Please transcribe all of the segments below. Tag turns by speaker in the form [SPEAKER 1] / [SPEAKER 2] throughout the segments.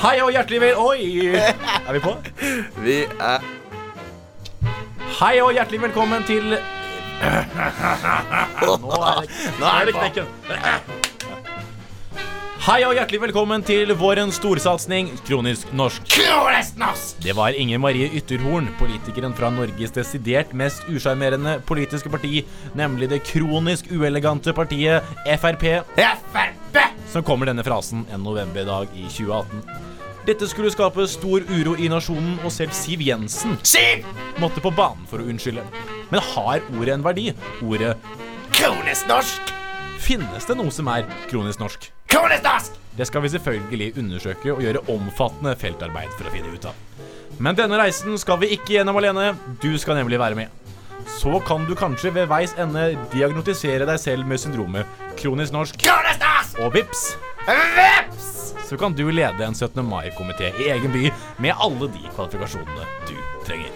[SPEAKER 1] Hei og hjertelig vel... Oi! Er vi på?
[SPEAKER 2] Vi er
[SPEAKER 1] Hei og hjertelig velkommen til Nå er det, nå er det knekken. Hei og hjertelig velkommen til vårens storsatsing Kronisk norsk. Det var Inger Marie Ytterhorn, politikeren fra Norges desidert mest usjarmerende politiske parti, nemlig det kronisk uelegante partiet Frp, som kommer denne frasen en novemberdag i 2018. Dette skulle skape stor uro i nasjonen, og selv Siv Jensen
[SPEAKER 3] Siv!
[SPEAKER 1] måtte på banen for å unnskylde. Men har ordet en verdi? Ordet
[SPEAKER 3] Kronisk norsk!
[SPEAKER 1] Finnes det noe som er kronisk norsk?
[SPEAKER 3] Kronisk norsk!
[SPEAKER 1] Det skal vi selvfølgelig undersøke og gjøre omfattende feltarbeid for å finne ut av. Men denne reisen skal vi ikke gjennom alene. Du skal nemlig være med. Så kan du kanskje ved veis ende diagnotisere deg selv med syndromet kronisk norsk,
[SPEAKER 3] Kronisk norsk!
[SPEAKER 1] og vips,
[SPEAKER 3] Vips!
[SPEAKER 1] så kan du lede en 17. mai-komité i egen by med alle de kvalifikasjonene du trenger.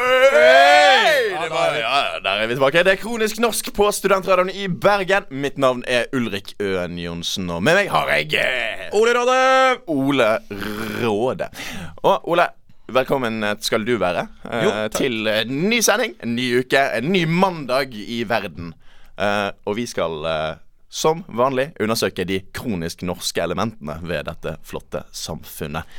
[SPEAKER 2] Hei! Det var, ja, ja, der er vi tilbake. Det er Kronisk norsk på Studentradioen i Bergen. Mitt navn er Ulrik Øen Johnsen, og med meg har jeg eh, Ole Råde. Ole Råde. Og Ole, velkommen skal du være eh,
[SPEAKER 1] Jo, takk.
[SPEAKER 2] til eh, ny sending, en ny uke, en ny mandag i verden. Eh, og vi skal eh, som vanlig undersøke de kronisk norske elementene ved dette flotte samfunnet.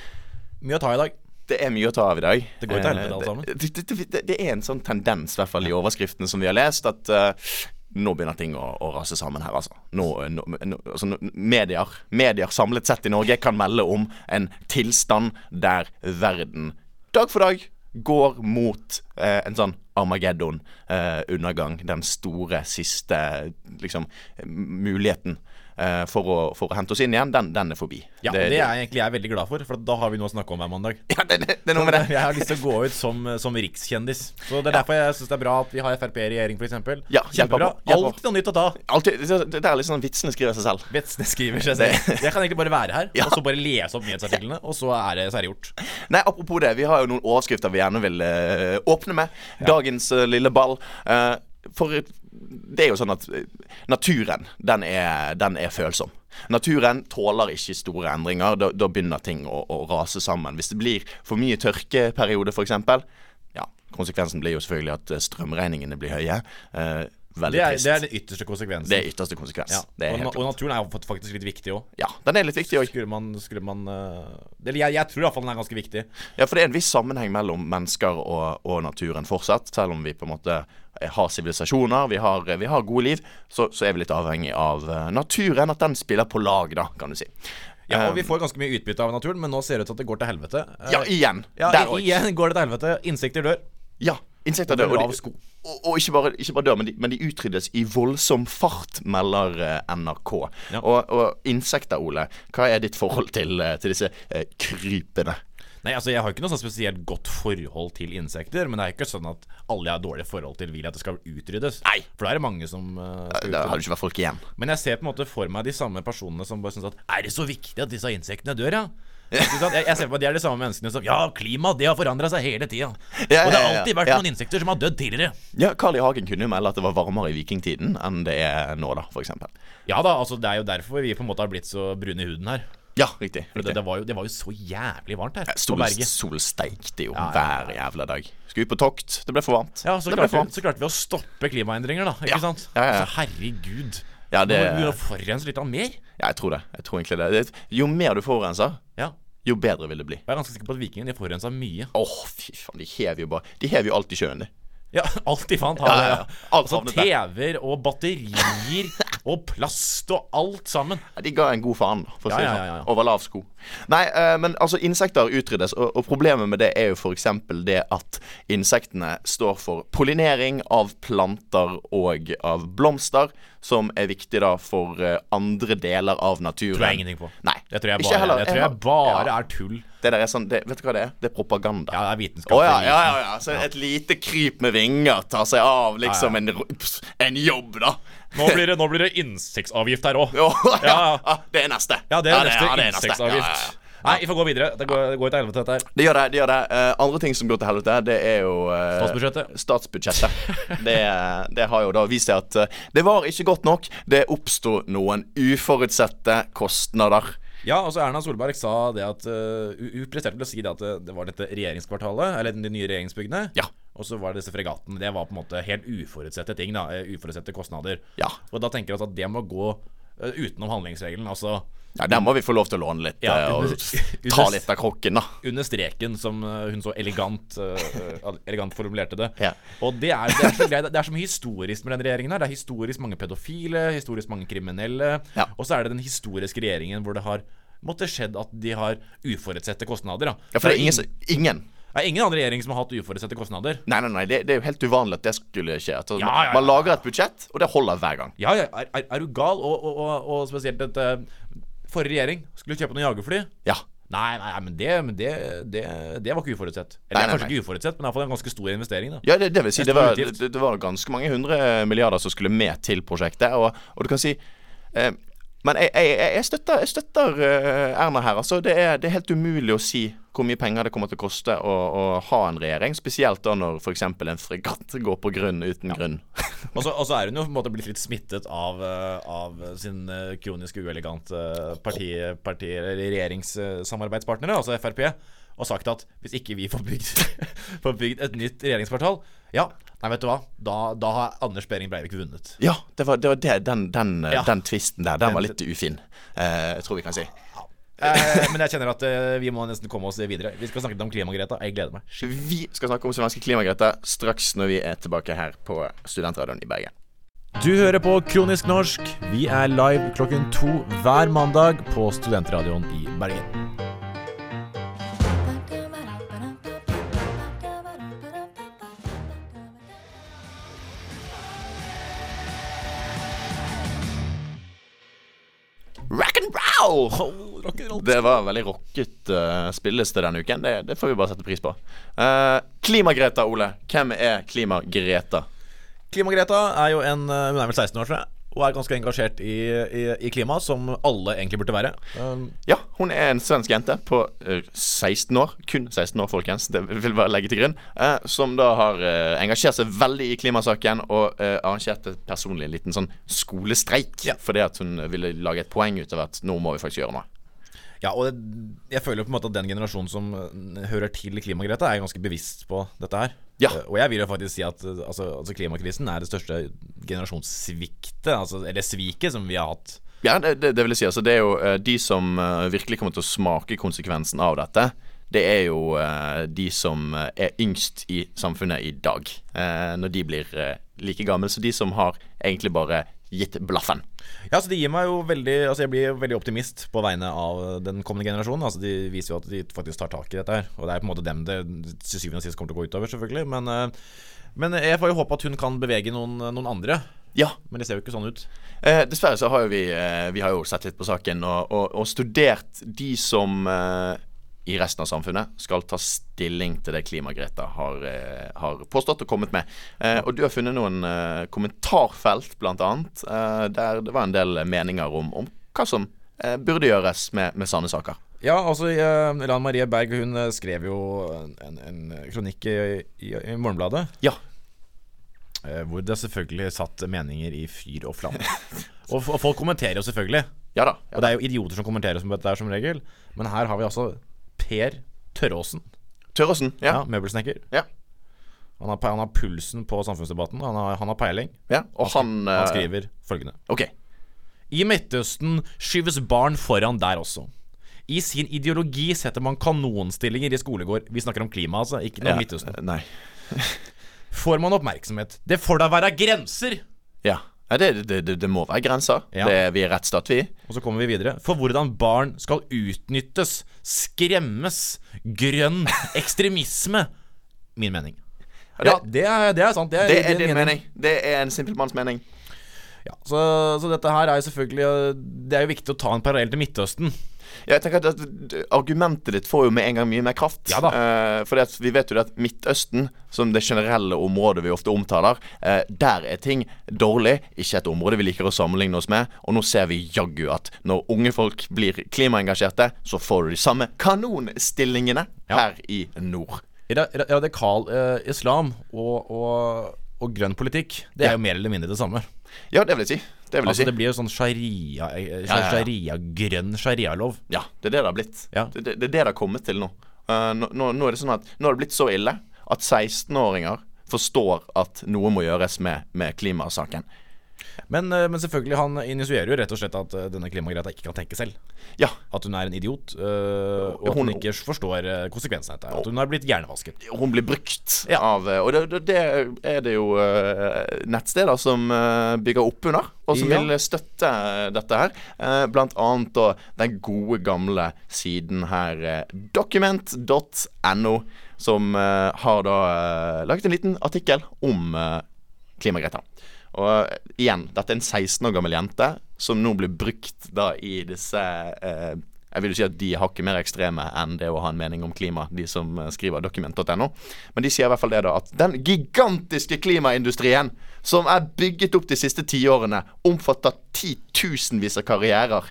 [SPEAKER 1] Mye å ta i dag.
[SPEAKER 2] Det er mye å ta av i dag.
[SPEAKER 1] Det går jo til helvete,
[SPEAKER 2] Eh,
[SPEAKER 1] alt sammen.
[SPEAKER 2] Det, det, det, det, det er en sånn tendens, i hvert fall i overskriftene som vi har lest, at eh, nå begynner ting å, å rase sammen her, altså. Nå, nå, nå, altså nå- medier, medier samlet sett i Norge kan melde om en tilstand der verden dag for dag går mot eh, en sånn Armageddon-undergang. den store, siste liksom, muligheten eh, for, å, for å hente oss inn igjen. Den, den er forbi.
[SPEAKER 1] Ja, det, er jeg egentlig jeg er veldig glad for, for da har vi noe å snakke om hver mandag.
[SPEAKER 2] ja, det, det, det er noe med det.
[SPEAKER 1] Jeg har lyst til å gå ut som, som rikskjendis. Så Det er derfor jeg syns det er bra at vi har Frp i regjering, f.eks.
[SPEAKER 2] Ja, kjempebra. Kjempebra.
[SPEAKER 1] Alltid noe nytt å ta.
[SPEAKER 2] Alltid, det, det det er litt sånn vitsene skriver seg selv.
[SPEAKER 1] Vetsne skriver seg selv. Jeg kan egentlig bare være her,
[SPEAKER 2] Ja.
[SPEAKER 1] og så bare lese opp nyhetsartiklene, og så er det, så er det gjort.
[SPEAKER 2] Nei, Apropos det, vi har jo noen overskrifter vi gjerne vil eh, åpne med. Dagens eh, lille ball. Eh, for det er jo sånn at eh, naturen, den er, den er følsom. Naturen tåler ikke store endringer. Da, da begynner ting å, å rase sammen. Hvis det blir for mye tørkeperiode, f.eks. Ja, konsekvensen blir jo selvfølgelig at eh, strømregningene blir høye. Eh, veldig
[SPEAKER 1] Det er,
[SPEAKER 2] trist.
[SPEAKER 1] det er den ytterste konsekvensen.
[SPEAKER 2] Det er ytterste konsekvens.
[SPEAKER 1] ja.
[SPEAKER 2] Det er
[SPEAKER 1] og,
[SPEAKER 2] helt
[SPEAKER 1] na- og
[SPEAKER 2] klart.
[SPEAKER 1] naturen er jo faktisk litt viktig òg.
[SPEAKER 2] Ja, den er litt viktig òg.
[SPEAKER 1] Skulle man, skulle man eh, Eller jeg, jeg tror iallfall den er ganske viktig.
[SPEAKER 2] Ja, for det er en viss sammenheng mellom mennesker og, og naturen fortsatt. Selv om vi på en måte eh, har sivilisasjoner, vi har, eh, vi har gode liv, så, så er vi litt avhengig av eh, naturen. At den spiller på lag, da, kan du si.
[SPEAKER 1] Ja,
[SPEAKER 2] Eh,
[SPEAKER 1] og Vi får ganske mye utbytte av naturen, men nå ser det ut til at det går til helvete. Eh,
[SPEAKER 2] ja, igjen.
[SPEAKER 1] ja,
[SPEAKER 2] der
[SPEAKER 1] i-
[SPEAKER 2] òg.
[SPEAKER 1] igjen går det til helvete. Insekter dør.
[SPEAKER 2] Ja, insekter
[SPEAKER 1] Det
[SPEAKER 2] dør.
[SPEAKER 1] blir
[SPEAKER 2] Og,
[SPEAKER 1] lav
[SPEAKER 2] de,
[SPEAKER 1] sko.
[SPEAKER 2] og, og ikke, bare, ikke bare dør, men de, men de utryddes i voldsom fart, melder eh, NRK.
[SPEAKER 1] Ja.
[SPEAKER 2] Og, og insekter, Ole, hva er ditt forhold til, eh, til disse eh, krypene?
[SPEAKER 1] Nei, altså Jeg har ikke noe sånn spesielt godt forhold til insekter, men det er ikke sånn at alle jeg har dårlig forhold til, vil at det skal utryddes.
[SPEAKER 2] Nei.
[SPEAKER 1] For da er det mange som eh, skal
[SPEAKER 2] Da har
[SPEAKER 1] utryddes.
[SPEAKER 2] det ikke vært folk igjen.
[SPEAKER 1] Men jeg ser på en måte for meg de samme personene som bare syns at Er det så viktig at disse insektene dør, ja? Ikke sant? Jeg, jeg ser på at De er de samme menneskene som Ja, klimaet har forandra seg hele tida.
[SPEAKER 2] Ja,
[SPEAKER 1] og det har
[SPEAKER 2] ja, ja,
[SPEAKER 1] alltid vært
[SPEAKER 2] ja.
[SPEAKER 1] noen insekter som har dødd tidligere.
[SPEAKER 2] Ja, Carl I. Hagen kunne jo melde at det var varmere i vikingtiden enn det er nå, da, for eksempel.
[SPEAKER 1] Ja da, altså det er jo derfor vi på en måte har blitt så brune i huden her.
[SPEAKER 2] Ja, riktig.
[SPEAKER 1] For
[SPEAKER 2] riktig.
[SPEAKER 1] det, det, var jo, det var jo så jævlig varmt her på
[SPEAKER 2] Sol,
[SPEAKER 1] berget.
[SPEAKER 2] solsteikte jo
[SPEAKER 1] Ja, ja, ja.
[SPEAKER 2] hver jævla dag. Skulle ut på tokt, det ble for varmt.
[SPEAKER 1] Ja, så
[SPEAKER 2] det ble
[SPEAKER 1] klarte, vi, så klarte vi å stoppe klimaendringer, da. Ikke
[SPEAKER 2] Ja.
[SPEAKER 1] sant?
[SPEAKER 2] Ja, ja, ja.
[SPEAKER 1] Så herregud.
[SPEAKER 2] Ja, det-
[SPEAKER 1] Nå må vi begynne å forurense litt av mer.
[SPEAKER 2] Ja, jeg tror det. jeg tror egentlig det. det. Jo mer du forurenser,
[SPEAKER 1] Ja.
[SPEAKER 2] jo bedre vil det bli.
[SPEAKER 1] Jeg er ganske sikker på at vikingene de forurensa mye.
[SPEAKER 2] Åh, fy faen, de hever jo bare De hever jo alt i sjøen, de.
[SPEAKER 1] Ja, alt de fant.
[SPEAKER 2] Ja, ja, ja. Alt
[SPEAKER 1] altså
[SPEAKER 2] havnet der.
[SPEAKER 1] TV-er og batterier og plast og alt sammen.
[SPEAKER 2] Ja, De ga en god faen, da, for å si det
[SPEAKER 1] Ja,
[SPEAKER 2] sånn.
[SPEAKER 1] ja, ja, ja.
[SPEAKER 2] Over lav sko. Nei, eh, men altså, insekter utryddes, og, og problemet med det er jo f.eks. det at insektene står for pollinering av planter og av blomster, som er viktig da for eh, andre deler av naturen.
[SPEAKER 1] Tror jeg ingenting på.
[SPEAKER 2] Nei.
[SPEAKER 1] Det tror jeg
[SPEAKER 2] Ikke
[SPEAKER 1] bare,
[SPEAKER 2] heller.
[SPEAKER 1] det tror jeg
[SPEAKER 2] har-
[SPEAKER 1] bare
[SPEAKER 2] ja.
[SPEAKER 1] er tull.
[SPEAKER 2] Det der er sånn det, Vet du hva det er? Det er propaganda.
[SPEAKER 1] Ja, det er
[SPEAKER 2] Å
[SPEAKER 1] vitenskap.
[SPEAKER 2] ja, ja, ja, ja. Så et lite kryp med vinger tar seg av liksom en, ro- pss, en jobb, da.
[SPEAKER 1] Nå blir det, nå blir det insektavgift her òg.
[SPEAKER 2] Å,
[SPEAKER 1] Ja, ja.
[SPEAKER 2] Det er neste.
[SPEAKER 1] Ja, det er neste
[SPEAKER 2] det neste. Ja, ja, ja.
[SPEAKER 1] insektavgift. Nei, vi får gå videre. Det går, det går til helvete, dette her.
[SPEAKER 2] Det gjør det. det gjør det Eh, Andre ting som går til helvete, det er jo eh,
[SPEAKER 1] Statsbudsjettet.
[SPEAKER 2] Statsbudsjettet. Det, det har jo da vist seg at eh, det var ikke godt nok. Det oppsto noen uforutsette kostnader.
[SPEAKER 1] Ja, altså Erna Solberg sa det at eh, Hun hun presterte til å si det at eh, det var dette regjeringskvartalet, eller de nye regjeringsbyggene.
[SPEAKER 2] Ja.
[SPEAKER 1] Og så var det disse fregatene. Det var på en måte helt uforutsette ting. da eh, Uforutsette kostnader.
[SPEAKER 2] Ja.
[SPEAKER 1] Og da tenker jeg altså at det må gå eh, utenom handlingsregelen. Altså
[SPEAKER 2] Ja, Der må vi få lov til å låne litt
[SPEAKER 1] Ja,
[SPEAKER 2] eh,
[SPEAKER 1] under-
[SPEAKER 2] og
[SPEAKER 1] under-
[SPEAKER 2] ta litt av kroken, da.
[SPEAKER 1] under streken, som eh, hun så elegant, eh, eh, elegant formulerte det.
[SPEAKER 2] Ja.
[SPEAKER 1] Og det er, det, er så greit, det er så mye historisk med den regjeringen her. Det er historisk mange pedofile, historisk mange kriminelle.
[SPEAKER 2] Ja.
[SPEAKER 1] Og så er det den historiske regjeringen hvor det har måtte skjedd at de har uforutsette kostnader. Da.
[SPEAKER 2] Ja, for det er
[SPEAKER 1] ing-
[SPEAKER 2] ingen, som- ingen
[SPEAKER 1] det er ingen annen regjering som har hatt uforutsette kostnader.
[SPEAKER 2] Nei, nei, nei, det, det er jo helt uvanlig at det skulle skje. At man,
[SPEAKER 1] ja, ja.
[SPEAKER 2] man lager et budsjett, og det holder hver gang.
[SPEAKER 1] Ja, ja, er, er, er du gal? Og, og, og, og spesielt at eh, forrige regjering skulle kjøpe noen jagerfly.
[SPEAKER 2] Ja.
[SPEAKER 1] Nei, nei, men det, men det, det, det var ikke uforutsett. Eller det er
[SPEAKER 2] Nei, nei,
[SPEAKER 1] kanskje
[SPEAKER 2] nei.
[SPEAKER 1] ikke uforutsett, men iallfall en ganske stor investering. da
[SPEAKER 2] Ja, det, det vil si,
[SPEAKER 1] Det er
[SPEAKER 2] det var,
[SPEAKER 1] stor utgift.
[SPEAKER 2] det, det var ganske mange hundre milliarder som skulle med til prosjektet, og, og du kan si eh, Men jeg, jeg, jeg- jeg støtter, jeg støtter eh, Erna her. Altså, det er, det er helt umulig å si hvor mye penger det kommer til å koste å, å ha en regjering, spesielt da når f.eks. en fregatt går på grunn uten grunn.
[SPEAKER 1] Og så, og så er hun jo på en måte blitt litt smittet av, eh, av sin eh, kroniske uelegante parti, parti, eller regjeringssamarbeidspartnere, altså Frp, og sagt at hvis ikke vi får bygd, får bygd et nytt regjeringskvartal, ja, nei, vet du hva, da, da har Anders Behring Breivik vunnet.
[SPEAKER 2] Ja, det var, det var det, den, den, eh,
[SPEAKER 1] Ja.
[SPEAKER 2] den tvisten der. Den var litt ufin, eh, jeg tror vi kan si.
[SPEAKER 1] Eh, men jeg kjenner at eh, vi må nesten komme oss videre. Vi skal snakke litt om klima, Greta. Jeg gleder meg.
[SPEAKER 2] Vi skal snakke om svenske klimagrøter straks når vi er tilbake her på Studentradioen i Bergen.
[SPEAKER 1] Du hører på Kronisk norsk. Vi er live klokken to hver mandag på Studentradioen i Bergen.
[SPEAKER 2] Rock and roll! Det var veldig rocket uh, spilleliste denne uken. Det, det får vi bare sette pris på. Eh, Klima-Greta, Ole. Hvem er Klima-Greta?
[SPEAKER 1] Klima-Greta er jo en eh, Hun er vel 16 år, tror jeg. Og er ganske engasjert i, i, i klima, som alle egentlig burde være. Um,
[SPEAKER 2] Ja, hun er en svensk jente på eh, 16 år. Kun 16 år, folkens. Det vil bare legge til grunn. eh, som da har eh, engasjert seg veldig i klimasaken og eh, arrangert et personlig en liten sånn skolestreik.
[SPEAKER 1] Ja.
[SPEAKER 2] Fordi at hun ville lage et poeng ut av at nå må vi faktisk gjøre noe.
[SPEAKER 1] ja, og det- jeg føler jo på en måte at den generasjonen som eh, hører til Klima-Greta, er ganske bevisst på dette her.
[SPEAKER 2] Ja.
[SPEAKER 1] Eh, Og jeg vil jo faktisk si at eh, altså, altså klimakrisen er det største generasjonssviktet, altså, eller sviket, som vi har hatt.
[SPEAKER 2] Ja, det, det, det vil jeg si. Altså, det er jo eh, de som eh, virkelig kommer til å smake konsekvensen av dette. Det er jo eh, de som eh, er yngst i samfunnet i dag. eh, når de blir eh, like gamle. Så de som har egentlig bare gitt blaffen.
[SPEAKER 1] Ja, så det gir meg jo veldig Altså jeg blir jo veldig optimist på vegne av den kommende generasjonen. Altså De viser jo at de faktisk tar tak i dette her. Og det er på en måte dem det til syvende og sist kommer til å gå utover, selvfølgelig. Men, eh, men jeg får jo håpe at hun kan bevege noen, noen andre.
[SPEAKER 2] Ja,
[SPEAKER 1] Men det ser jo ikke sånn ut.
[SPEAKER 2] Eh, dessverre så har jo vi, eh, vi har jo sett litt på saken og, og, og studert de som eh, i resten av samfunnet skal ta stilling til det Klima-Greta har, eh, har påstått og kommet med. Eh, og du har funnet noen eh, kommentarfelt, blant annet, eh, der det var en del meninger om, om hva som eh, burde gjøres med, med sånne saker.
[SPEAKER 1] Ja, altså eh, Lan Marie Berg hun eh, skrev jo en, en, en kronikk i, i, i Morgenbladet
[SPEAKER 2] Ja.
[SPEAKER 1] eh, hvor det selvfølgelig satt meninger i fyr og flamme. Og, f- og folk kommenterer jo selvfølgelig.
[SPEAKER 2] Ja da.
[SPEAKER 1] Og
[SPEAKER 2] Ja.
[SPEAKER 1] det er jo idioter som kommenterer som dette her som regel. Men her har vi altså Per Tørråsen.
[SPEAKER 2] Tørresen.
[SPEAKER 1] Ja,
[SPEAKER 2] Ja.
[SPEAKER 1] møbelsnekker.
[SPEAKER 2] Ja.
[SPEAKER 1] Han har, pe- han har pulsen på samfunnsdebatten. Han har, han har peiling.
[SPEAKER 2] ja. Og han, eh,
[SPEAKER 1] Han skriver følgende
[SPEAKER 2] OK.
[SPEAKER 1] I Midtøsten skyves barn foran der også. I sin ideologi setter man kanonstillinger i skolegård. Vi snakker om klima, altså, ikke noe om Midtøsten.
[SPEAKER 2] Ja. Nei.
[SPEAKER 1] Får man oppmerksomhet? Det får da være grenser!
[SPEAKER 2] Ja. Nei, Det, det, det, det må være grenser.
[SPEAKER 1] Ja.
[SPEAKER 2] Det, vi er rettsstat, vi.
[SPEAKER 1] Og så kommer vi videre. For hvordan barn skal utnyttes, skremmes, grønn ekstremisme. Min mening. Ja, det er, det er sant. Det er,
[SPEAKER 2] Det er
[SPEAKER 1] min
[SPEAKER 2] din mening. Det er en simpelmanns mening.
[SPEAKER 1] eh, Ja, så, så dette her er jo selvfølgelig Det er jo viktig å ta en parallell til Midtøsten.
[SPEAKER 2] Jeg tenker at, at Argumentet ditt får jo med en gang mye mer kraft.
[SPEAKER 1] Ja da.
[SPEAKER 2] for vi vet jo det at Midtøsten, som det generelle området vi ofte omtaler, eh, der er ting dårlig. Ikke et område vi liker å sammenligne oss med. Og nå ser vi jaggu at når unge folk blir klimaengasjerte, så får du de samme kanonstillingene her i nord.
[SPEAKER 1] Ra- ra- Radikal eh, islam og, og, og grønn politikk, det er jo mer eller mindre det samme.
[SPEAKER 2] Ja, det vil jeg si. Det vil jeg
[SPEAKER 1] Altså
[SPEAKER 2] si.
[SPEAKER 1] Det blir jo sånn sharia, eh,
[SPEAKER 2] Ja, ja, ja.
[SPEAKER 1] sharia grønn sharialov.
[SPEAKER 2] Ja, det er det det har blitt.
[SPEAKER 1] Ja.
[SPEAKER 2] Det, det, det er det det har kommet til nå. Eh, nå, nå, nå er det sånn at Nå har det blitt så ille at 16-åringer forstår at noe må gjøres med, med klimasaken.
[SPEAKER 1] Men, eh, men selvfølgelig, han initierer jo rett og slett at eh, denne klimagreita ikke kan tenke selv.
[SPEAKER 2] Ja,
[SPEAKER 1] At hun er en idiot, eh, og at
[SPEAKER 2] Hun-
[SPEAKER 1] hun ikke forstår eh, konsekvensene av dette. At hun har blitt hjernevasket.
[SPEAKER 2] hun blir brukt
[SPEAKER 1] Ja.
[SPEAKER 2] av eh, Og det, det, det er det jo eh, nettsteder som eh, bygger opp under, og som
[SPEAKER 1] Ja.
[SPEAKER 2] vil støtte dette her. Eh, blant annet da, den gode, gamle siden her, eh, document.no, som eh, har da eh, laget en liten artikkel om eh, Klima-Greta. Og eh, igjen, dette er en 16 år gammel jente som nå blir brukt da i disse eh, Jeg vil jo si at de er hakket mer ekstreme enn det å ha en mening om klima, de som eh, skriver dokument.no. Men de sier i hvert fall det, da, at den gigantiske klimaindustrien som er bygget opp de siste tiårene, omfatter titusenvis av karrierer.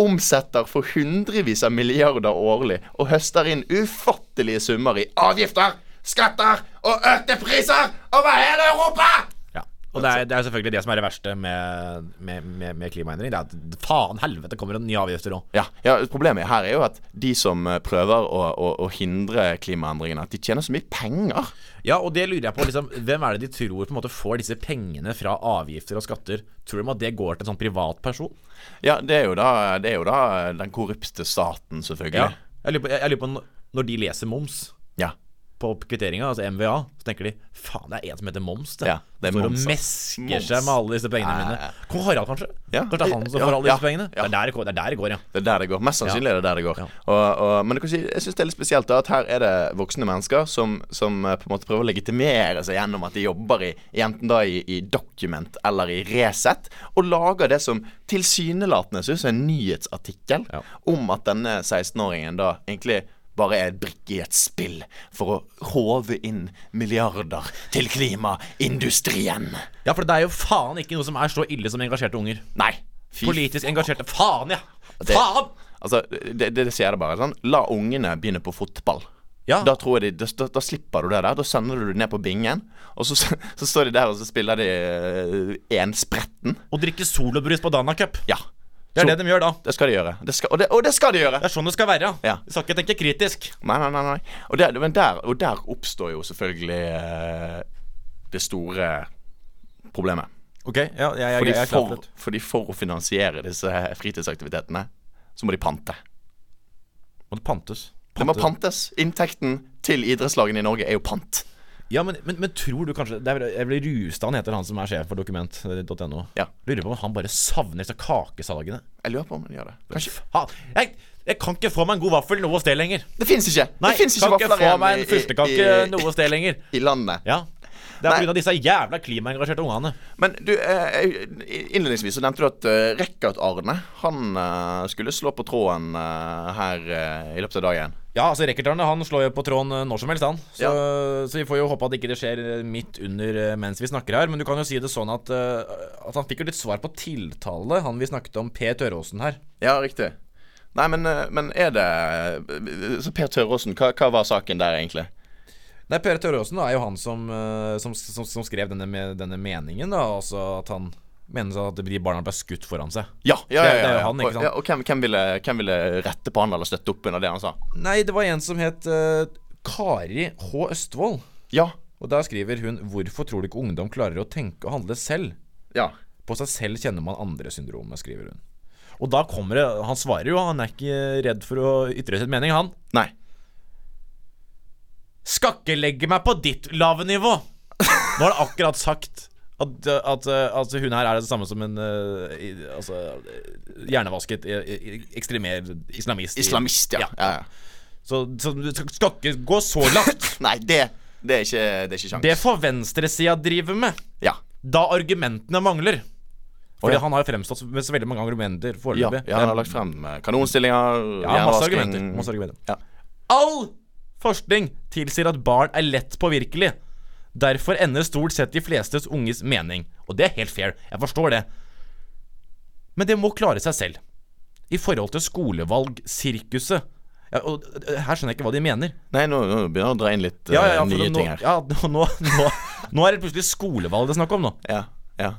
[SPEAKER 2] Omsetter for hundrevis av milliarder årlig og høster inn ufattelige summer i avgifter, skatter og økte priser over hele Europa!
[SPEAKER 1] Ja. Og det er, det er selvfølgelig det som er det verste med, med, med, med klimaendring. Det er at faen helvete kommer det nye avgifter òg.
[SPEAKER 2] Ja, ja, problemet her er jo at de som eh, prøver å, å, å hindre klimaendringene, at de tjener så mye penger.
[SPEAKER 1] Ja, og det lurer jeg på. Liksom, hvem er det de tror på en måte får disse pengene fra avgifter og skatter? Tror de at det går til en sånn privatperson?
[SPEAKER 2] Ja, det er jo da, det er jo da den korrupte staten,
[SPEAKER 1] Ja.
[SPEAKER 2] selvfølgelig.
[SPEAKER 1] Jeg lurer på, jeg, jeg lurer på n- når de leser moms
[SPEAKER 2] Ja.
[SPEAKER 1] på kvitteringa, altså MVA, så tenker de faen, det er en som heter Moms. Det,
[SPEAKER 2] Ja, det er
[SPEAKER 1] Står
[SPEAKER 2] Moms,
[SPEAKER 1] og
[SPEAKER 2] ja.
[SPEAKER 1] mesker
[SPEAKER 2] Moms.
[SPEAKER 1] seg med alle disse pengene
[SPEAKER 2] Ja, ja, ja.
[SPEAKER 1] mine. Kong Harald, kanskje?
[SPEAKER 2] Ja.
[SPEAKER 1] Kanskje det er han som
[SPEAKER 2] Ja,
[SPEAKER 1] får alle
[SPEAKER 2] ja,
[SPEAKER 1] disse pengene?
[SPEAKER 2] ja.
[SPEAKER 1] Det, er der, det går- det er der det går, ja.
[SPEAKER 2] Det er der det går. Mest sannsynlig er det der det går.
[SPEAKER 1] Ja.
[SPEAKER 2] Og, og, men du kan si, jeg syns det er litt spesielt da, at her er det voksne mennesker som, som eh, på en måte prøver å legitimere seg gjennom at de jobber i i enten da i, i Document eller i Resett, og lager det som tilsynelatende ser ut som en nyhetsartikkel
[SPEAKER 1] Ja.
[SPEAKER 2] om at denne 16-åringen da egentlig bare er et brikke i et spill for å håve inn milliarder til klimaindustrien.
[SPEAKER 1] Ja, for det er jo faen ikke noe som er så ille som engasjerte unger.
[SPEAKER 2] Nei. Fy
[SPEAKER 1] Politisk engasjerte. Faen, ja!
[SPEAKER 2] Det-
[SPEAKER 1] Faen!
[SPEAKER 2] Altså, det, det, det sier det bare. Sånn. La ungene begynne på fotball.
[SPEAKER 1] Ja.
[SPEAKER 2] Da, tror jeg de, da, da slipper du det der. Da sender du det ned på bingen, og så, så står de der og så spiller de eh, enspretten.
[SPEAKER 1] Å drikke solobrus på Dana Cup.
[SPEAKER 2] Ja.
[SPEAKER 1] Det
[SPEAKER 2] Så-
[SPEAKER 1] er det de gjør da.
[SPEAKER 2] Det skal de gjøre. Det skal, og, det, og det skal de gjøre!
[SPEAKER 1] Det er sånn det skal være.
[SPEAKER 2] Ja.
[SPEAKER 1] Vi skal ikke tenke kritisk.
[SPEAKER 2] Nei, nei, nei. nei. Og, der, men der, og der oppstår jo selvfølgelig eh, det store problemet.
[SPEAKER 1] Ok, ja, jeg, jeg,
[SPEAKER 2] Fordi for, fordi for å finansiere disse fritidsaktivitetene, så må de pante.
[SPEAKER 1] Må det pantes?
[SPEAKER 2] Det må pantes. Inntekten til idrettslagene i Norge er jo pant.
[SPEAKER 1] Ja, men, men, men tror du kanskje det er, vel- Evely Rustad heter han som er sjef for dokument.no.
[SPEAKER 2] Ja.
[SPEAKER 1] Lurer på om han bare savner disse kakesalgene.
[SPEAKER 2] Jeg lurer på om de gjør det. Kanskje
[SPEAKER 1] Faen, jeg, jeg kan ikke få meg en god vaffel noe sted lenger.
[SPEAKER 2] Det fins ikke!
[SPEAKER 1] Nei,
[SPEAKER 2] det fins ikke
[SPEAKER 1] kan ikke
[SPEAKER 2] vafler
[SPEAKER 1] få
[SPEAKER 2] igjen
[SPEAKER 1] meg en
[SPEAKER 2] i,
[SPEAKER 1] fyrstekake
[SPEAKER 2] i,
[SPEAKER 1] noe sted lenger.
[SPEAKER 2] i, i landet.
[SPEAKER 1] Ja. Det er
[SPEAKER 2] Nei.
[SPEAKER 1] pga. disse jævla klimaengasjerte ungene.
[SPEAKER 2] Men du, eh, innledningsvis så nevnte du at eh, Rekkert Arne Han eh, skulle slå på tråden eh, her eh, i løpet av dagen.
[SPEAKER 1] Ja, altså Rekkertarne han slår jo på tråden eh, når som helst, han. Så, så vi får jo håpe at ikke det skjer eh, midt under eh, mens vi snakker her. Men du kan jo si det sånn at, eh, at han fikk jo litt svar på tiltale, han vi snakket om, Per Tøråsen her.
[SPEAKER 2] Ja, riktig. Nei, men, eh, men er det Så Per Tøråsen, hva, hva var saken der, egentlig?
[SPEAKER 1] Nei, Per Tørråsen da, er jo han som, eh, som, som, som skrev denne, me- denne meningen, da. Altså at han mener at de barna ble skutt foran seg.
[SPEAKER 2] Ja, ja, ja,
[SPEAKER 1] Det-
[SPEAKER 2] ja,
[SPEAKER 1] det er jo
[SPEAKER 2] ja.
[SPEAKER 1] han, ikke
[SPEAKER 2] Og-
[SPEAKER 1] sant?
[SPEAKER 2] ja Og hvem, hvem, ville, hvem ville rette på han eller støtte opp under det han sa?
[SPEAKER 1] Nei, det var en som het eh, Kari H. Østfold.
[SPEAKER 2] Ja.
[SPEAKER 1] Og der skriver hun 'Hvorfor tror du ikke ungdom klarer å tenke og handle selv?'
[SPEAKER 2] Ja.
[SPEAKER 1] 'På seg selv kjenner man andre-syndromet', skriver hun. Og da kommer det Han svarer jo, han er ikke redd for å ytre sin mening, han.
[SPEAKER 2] Nei.
[SPEAKER 1] Skal ikke legge meg på ditt lave nivå! Nå har det akkurat sagt at, at, at hun her er det samme som en eh, i- altså, eh, hjernevasket eh, eh, ekstremer islamist. i-
[SPEAKER 2] Islamist, ja. ja. ja.
[SPEAKER 1] Så, så du skal skal ikke gå så langt!
[SPEAKER 2] Nei, det, det er ikke, det er ikke sjans.
[SPEAKER 1] Det får venstresida drive med,
[SPEAKER 2] Ja.
[SPEAKER 1] da argumentene mangler. For
[SPEAKER 2] ja.
[SPEAKER 1] han har jo fremstått med så veldig mange argumenter
[SPEAKER 2] Ja,
[SPEAKER 1] foreløpig.
[SPEAKER 2] ja, han har lagt frem eh, kanonstillinger,
[SPEAKER 1] Ja, masse
[SPEAKER 2] jernvasking.
[SPEAKER 1] argumenter. Masse argumenter.
[SPEAKER 2] Ja.
[SPEAKER 1] All forskning tilsier at barn er lett påvirkelig. Derfor ender stort sett de flestes unges mening. Og det er helt fair. Jeg forstår det. Men det må klare seg selv. I forhold til skolevalgsirkuset. Ja, og øh, her skjønner jeg ikke hva de mener.
[SPEAKER 2] Nei, nå, nå begynner jeg å dra inn
[SPEAKER 1] Ja,
[SPEAKER 2] litt
[SPEAKER 1] ja, ja,
[SPEAKER 2] eh,
[SPEAKER 1] for
[SPEAKER 2] nye
[SPEAKER 1] nå,
[SPEAKER 2] ting her.
[SPEAKER 1] ja, nå, nå, nå er det plutselig skolevalg det er snakk om nå.
[SPEAKER 2] Ja, ja.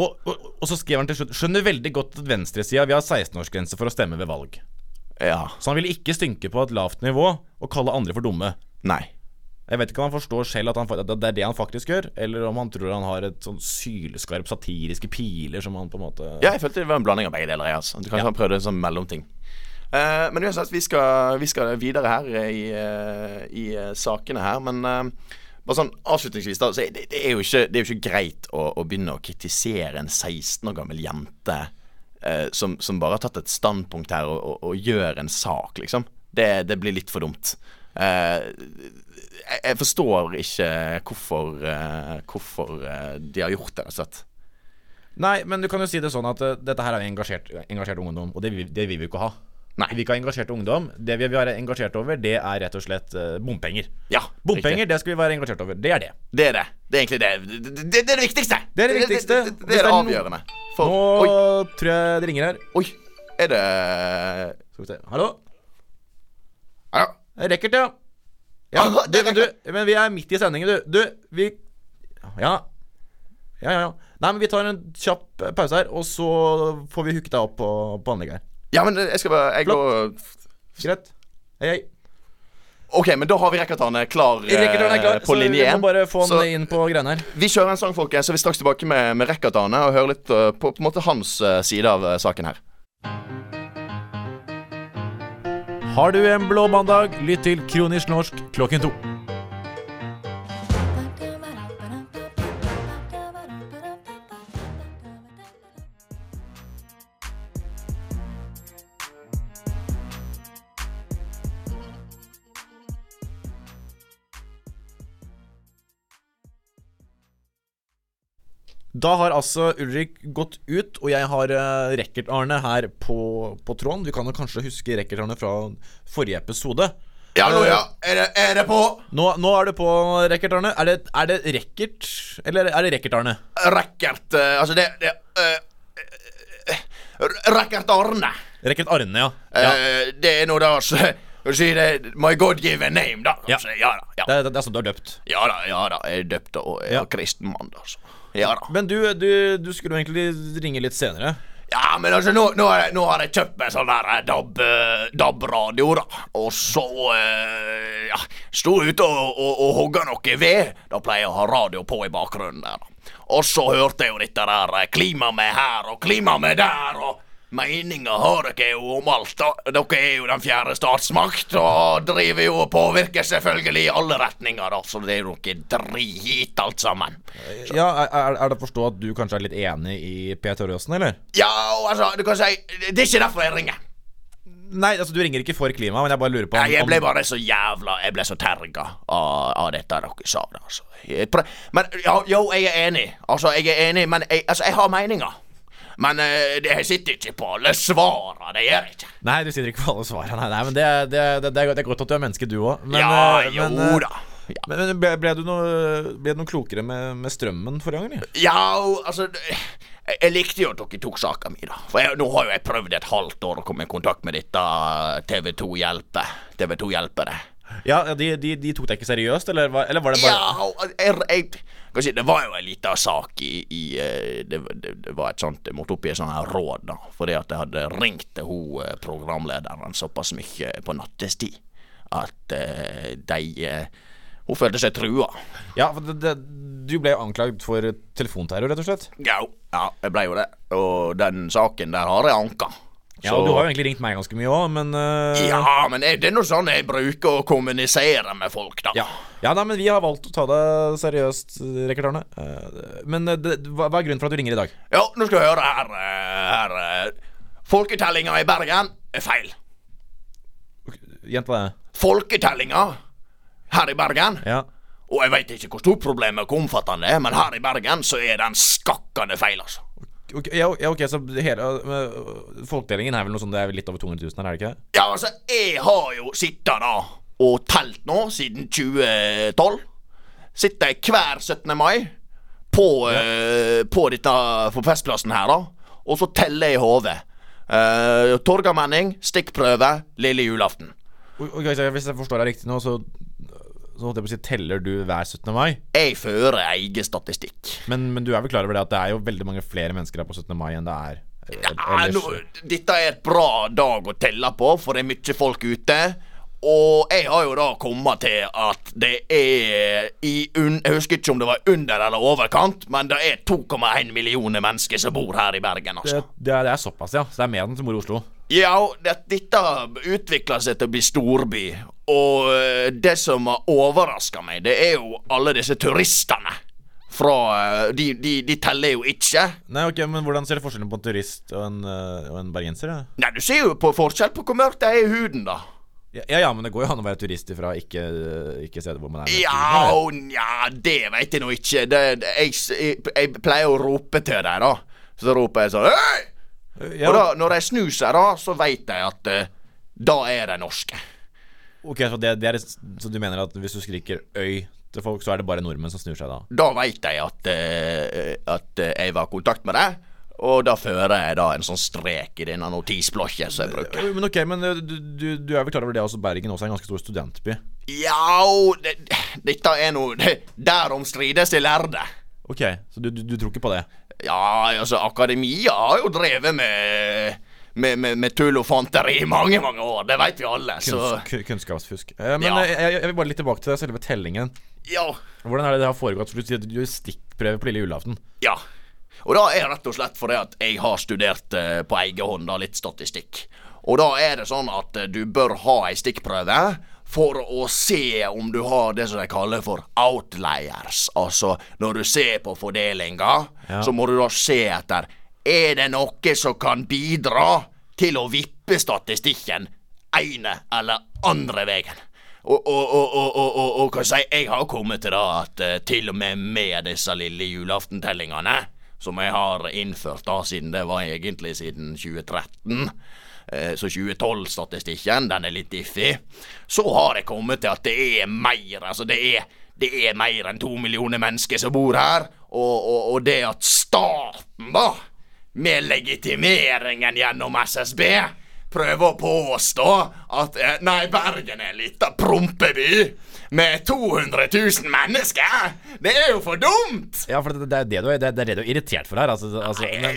[SPEAKER 1] Og, og, og så skrev han til slutt Skjønner veldig godt at venstresida vil ha 16-årsgrense for å stemme ved valg.
[SPEAKER 2] ja.
[SPEAKER 1] Så han ville ikke stynke på et lavt nivå og kalle andre for dumme.
[SPEAKER 2] Nei.
[SPEAKER 1] Jeg vet ikke om han forstår selv at, han, fa- at det er det han faktisk gjør, eller om han tror han har et sånn sylskarp satiriske piler som han på en måte
[SPEAKER 2] Ja, jeg følte det var en blanding av begge deler. jeg, Altså. Kanskje han prøvde en sånn mellomting. Eh, men uansett, vi skal, vi skal videre her eh, i, eh, i eh, sakene her. Men eh, bare sånn avslutningsvis, da. Så er det, det, er jo ikke, det er jo ikke greit å, å begynne å kritisere en 16 år gammel jente eh, som, som bare har tatt et standpunkt her og, og, og gjør en sak, liksom. Det, det blir litt for dumt. Eh, jeg, jeg forstår ikke hvorfor, eh, hvorfor eh, de har gjort det, rett og slett.
[SPEAKER 1] Nei, men du kan jo si det sånn at eh, dette her er jo engasjert, engasjert ungdom, og det, vil- det vil vi jo ikke ha.
[SPEAKER 2] Nei.
[SPEAKER 1] Vi vil ikke ha engasjert ungdom. Det vi vil være engasjert over, det er rett og slett eh, bompenger.
[SPEAKER 2] Ja,
[SPEAKER 1] Bompenger, det skal vi være engasjert over. Det er det.
[SPEAKER 2] Det er det. Det er egentlig det. Det, det, det er det viktigste.
[SPEAKER 1] Det er det viktigste.
[SPEAKER 2] Det, det, det,
[SPEAKER 1] Hvis det
[SPEAKER 2] er
[SPEAKER 1] er
[SPEAKER 2] det
[SPEAKER 1] no-
[SPEAKER 2] avgjørende.
[SPEAKER 1] Nå
[SPEAKER 2] For Oi,
[SPEAKER 1] tror jeg det ringer her.
[SPEAKER 2] oi. Er det
[SPEAKER 1] Skal vi se. Hallo?
[SPEAKER 2] Ja.
[SPEAKER 1] Rekkert, ja. Ja,
[SPEAKER 2] Ah,
[SPEAKER 1] du,
[SPEAKER 2] det er
[SPEAKER 1] men, du, men vi er midt i sendingen, du. Du, vi Ja. Ja, ja, ja. Nei, men vi tar en kjapp eh, pause her, og så får vi hooket deg opp på, på anlegget her.
[SPEAKER 2] ja, men jeg skal bare jeg
[SPEAKER 1] Flott.
[SPEAKER 2] går,
[SPEAKER 1] Greit? Hei, hei.
[SPEAKER 2] OK, men da har vi Rekkertane klar, eh,
[SPEAKER 1] Rekkertørn er klar,
[SPEAKER 2] på
[SPEAKER 1] så vi
[SPEAKER 2] linje
[SPEAKER 1] må bare få han
[SPEAKER 2] Så
[SPEAKER 1] inn på greiene her.
[SPEAKER 2] vi kjører en sang, folkens, så er vi straks tilbake med, med Rekkertane og hører litt eh, på, på en måte hans eh, side av eh, saken her.
[SPEAKER 1] Har du en blå mandag, lytt til Kronisk norsk klokken to. Da har altså Ulrik gått ut, og jeg har eh, Rekkert-Arne her på, på tråden. Vi kan jo kanskje huske Rekkert-Arne fra forrige episode.
[SPEAKER 2] Ja,
[SPEAKER 1] nå, ja.
[SPEAKER 2] Er det, på
[SPEAKER 1] Nå, nå er du på, Rekkert-Arne. Er, det- er det Rekkert, eller er det Rekkert-Arne?
[SPEAKER 2] Rekkert Altså, det, Rekkert Arne.
[SPEAKER 1] Rekkert-Arne, ja. ja.
[SPEAKER 2] Eh, det er nå da Skal si det My God give a name, da.
[SPEAKER 1] Ja. Altså,
[SPEAKER 2] ja da. Ja.
[SPEAKER 1] Det, er- det er sånn du er døpt.
[SPEAKER 2] Ja da, ja da. Jeg er døpt og er
[SPEAKER 1] Ja.
[SPEAKER 2] kristen mann, altså. Ja da.
[SPEAKER 1] Men du, du, du skulle jo egentlig ringe litt senere.
[SPEAKER 2] Ja, men altså, nå, nå, har jeg- nå har jeg kjøpt meg sånn der eh, DAB, eh, DAB-radio, da. Og så eh, ja, sto ute og, og, og hogga noe ved. Da pleier jeg å ha radio på i bakgrunnen der. da. Og så hørte jeg jo dette der eh, 'klima med her' og 'klima med der' og Meninga har dere jo om alt, da. Dere er jo den fjerde statsmakt og driver jo og påvirker selvfølgelig i alle retninger, da. Så det er jo noe drit, alt sammen.
[SPEAKER 1] Ja, er, er det å forstå at du kanskje er litt enig i Per Torjussen, eller?
[SPEAKER 2] Ja, og altså, du kan si Det er ikke derfor jeg ringer.
[SPEAKER 1] Nei, altså du ringer ikke for klima, men jeg bare lurer på om,
[SPEAKER 2] Nei, jeg ble
[SPEAKER 1] om-
[SPEAKER 2] bare så jævla Jeg ble så terga av, av dette dere sa. da, Altså. Jeg prø- Men ja, jo, jeg er enig. Altså, jeg er enig, men jeg, altså, jeg har meninger. Men eh, det- jeg sitter ikke på alle svara. Det gjør jeg ikke.
[SPEAKER 1] Nei, du sitter ikke på alle svarene. Nei, nei men det, det, det, det er godt- det er godt at du er menneske, du eh, òg.
[SPEAKER 2] ja, jo da. Ja.
[SPEAKER 1] Men, men ble, ble, du noe, ble du noe klokere med, med strømmen forrige gang? eller?
[SPEAKER 2] ja, altså jeg- Jeg likte jo at dere tok saka mi, da. For jeg, nå har jo jeg prøvd et halvt år å komme i kontakt med dette eh, TV2 Hjelpe. TV2 Hjelpere.
[SPEAKER 1] Ja, ja, de, de, de tok deg ikke seriøst, eller, var- eller var det bare
[SPEAKER 2] Ja, og jeg, jeg, kan si, det var jo en liten sak i, i eh, det, det, det var et sånt Jeg måtte oppgi et sånt her råd, da. Fordi at jeg hadde ringt til hun eh, programlederen såpass mye på nattestid at eh, de eh, Hun følte seg trua.
[SPEAKER 1] Ja, for det, det, du ble jo anklagd for telefonterror, rett og slett.
[SPEAKER 2] Ja, ja, jeg ble jo det. Og den saken der har jeg anka.
[SPEAKER 1] Ja, og Du har jo egentlig ringt meg ganske mye òg, men eh,
[SPEAKER 2] ja, men er det er nå sånn jeg bruker å kommunisere med folk, da.
[SPEAKER 1] Ja. ja, nei, men vi har valgt å ta deg seriøst, Rekkert Arne. Eh, Men eh, det, hva, hva er grunnen for at du ringer i dag?
[SPEAKER 2] Ja, nå skal du høre her, eh, her Folketellinga i Bergen er feil.
[SPEAKER 1] Gjenta det.
[SPEAKER 2] folketellinga her i Bergen.
[SPEAKER 1] Ja.
[SPEAKER 2] Og jeg veit ikke hvor stort problemet og hvor omfattende det er, men her i Bergen så er den skakkende feil, altså.
[SPEAKER 1] Ok, ja, ja, ok, så hele øh, Folkedelingen er vel noe sånn det er litt over 200 000 her, er det ikke det?
[SPEAKER 2] Ja, altså, jeg har jo sittet da og telt nå siden 2012. Sitter jeg hver 17. mai på, eh, på dette på festplassen her, da. Og så teller jeg i hodet. Uh, Torgallmenning, stikkprøve, lille julaften.
[SPEAKER 1] Ok, så Hvis jeg forstår deg riktig nå, så Så holdt jeg på å si teller du hver 17. mai.
[SPEAKER 2] Jeg fører egen statistikk.
[SPEAKER 1] Men, men du er vel klar over det at det er jo veldig mange flere mennesker her på 17. mai enn det er eh,
[SPEAKER 2] Ja,
[SPEAKER 1] ellers?
[SPEAKER 2] nå, dette er et bra dag å telle på, for det er mye folk ute. Og jeg har jo da kommet til at det er i un Jeg husker ikke om det var under eller overkant, men det er 2,1 millioner mennesker som bor her i Bergen,
[SPEAKER 1] Det,
[SPEAKER 2] altså.
[SPEAKER 1] det, er, det er såpass, ja. Så det er mer enn som bor i Oslo.
[SPEAKER 2] Ja, det, dette utvikler seg til å bli storby. Og eh, det som har overraska meg, det er jo alle disse turistene. Fra eh, De, de, de teller jo ikke.
[SPEAKER 1] Nei, ok, men Hvordan ser du forskjellen på en turist og en, øh, og en bergenser? da?
[SPEAKER 2] Nei, du ser jo på forskjell på hvor mørkt det er i huden, da.
[SPEAKER 1] Ja, ja, ja, men det går jo an å være turist fra ikke, ikke steder hvor man er. mest
[SPEAKER 2] Ja,
[SPEAKER 1] turist,
[SPEAKER 2] og nja, det veit jeg nå ikke. Det, det, jeg, s- jeg, jeg pleier å rope til dem, da. Så roper jeg sånn Hei!
[SPEAKER 1] eller?
[SPEAKER 2] Og da,
[SPEAKER 1] Ja,
[SPEAKER 2] når de snur seg, da, så veit de at eh, da er de norske.
[SPEAKER 1] ok, så, det, det er, så du mener at hvis du skriker 'øy' til folk, så er det bare nordmenn som snur seg da?
[SPEAKER 2] Da veit de at, eh, at eh, jeg var i kontakt med dem. Og da fører jeg da en sånn strek i denne notisblokken som jeg bruker.
[SPEAKER 1] Men ok, men øh, du, du, du er vel klar over det at også Bergen også er en ganske stor studentby?
[SPEAKER 2] Ja, det, dette er nå Derom strides de lærde.
[SPEAKER 1] Ok, så du, du, du tror ikke på det?
[SPEAKER 2] Ja, altså, akademia har jo drevet med med, med, med tull og fanteri i mange mange år, det veit vi alle. Så
[SPEAKER 1] Kunns, ku- kunnskapsfusk. Eh, men
[SPEAKER 2] Ja.
[SPEAKER 1] eh, jeg, jeg vil bare litt tilbake til selve tellingen.
[SPEAKER 2] ja,
[SPEAKER 1] Hvordan er det det har foregått? For du sier at du gjør stikkprøve på lille julaften.
[SPEAKER 2] ja. Og da er det rett og slett fordi at jeg har studert eh, på egen hånd da, litt statistikk. Og da er det sånn at eh, du bør ha ei stikkprøve for å se om du har det som de kaller for outliers. Altså når du ser på fordelinga,
[SPEAKER 1] Ja.
[SPEAKER 2] så må du da se etter Er det noe som kan bidra til å vippe statistikken ene eller andre veien? Og, og, og, og, og, og, og hva sier jeg har kommet til da at eh, til og med med disse lille julaftentellingene, som jeg har innført da siden det var egentlig siden 2013 eh, så 2012-statistikken, den er litt diffig. Så har jeg kommet til at det er mer, altså det er, det er mer enn to millioner mennesker som bor her, og, og, og det at staten, da, med legitimeringen gjennom SSB, prøver å påstå at eh, nei, Bergen er en liten prompeby med 200 000 mennesker, det er jo for dumt!
[SPEAKER 1] Ja, for det, det, er det, du er, det, det er det du er irritert for her. Altså, altså,
[SPEAKER 2] Jeg
[SPEAKER 1] men-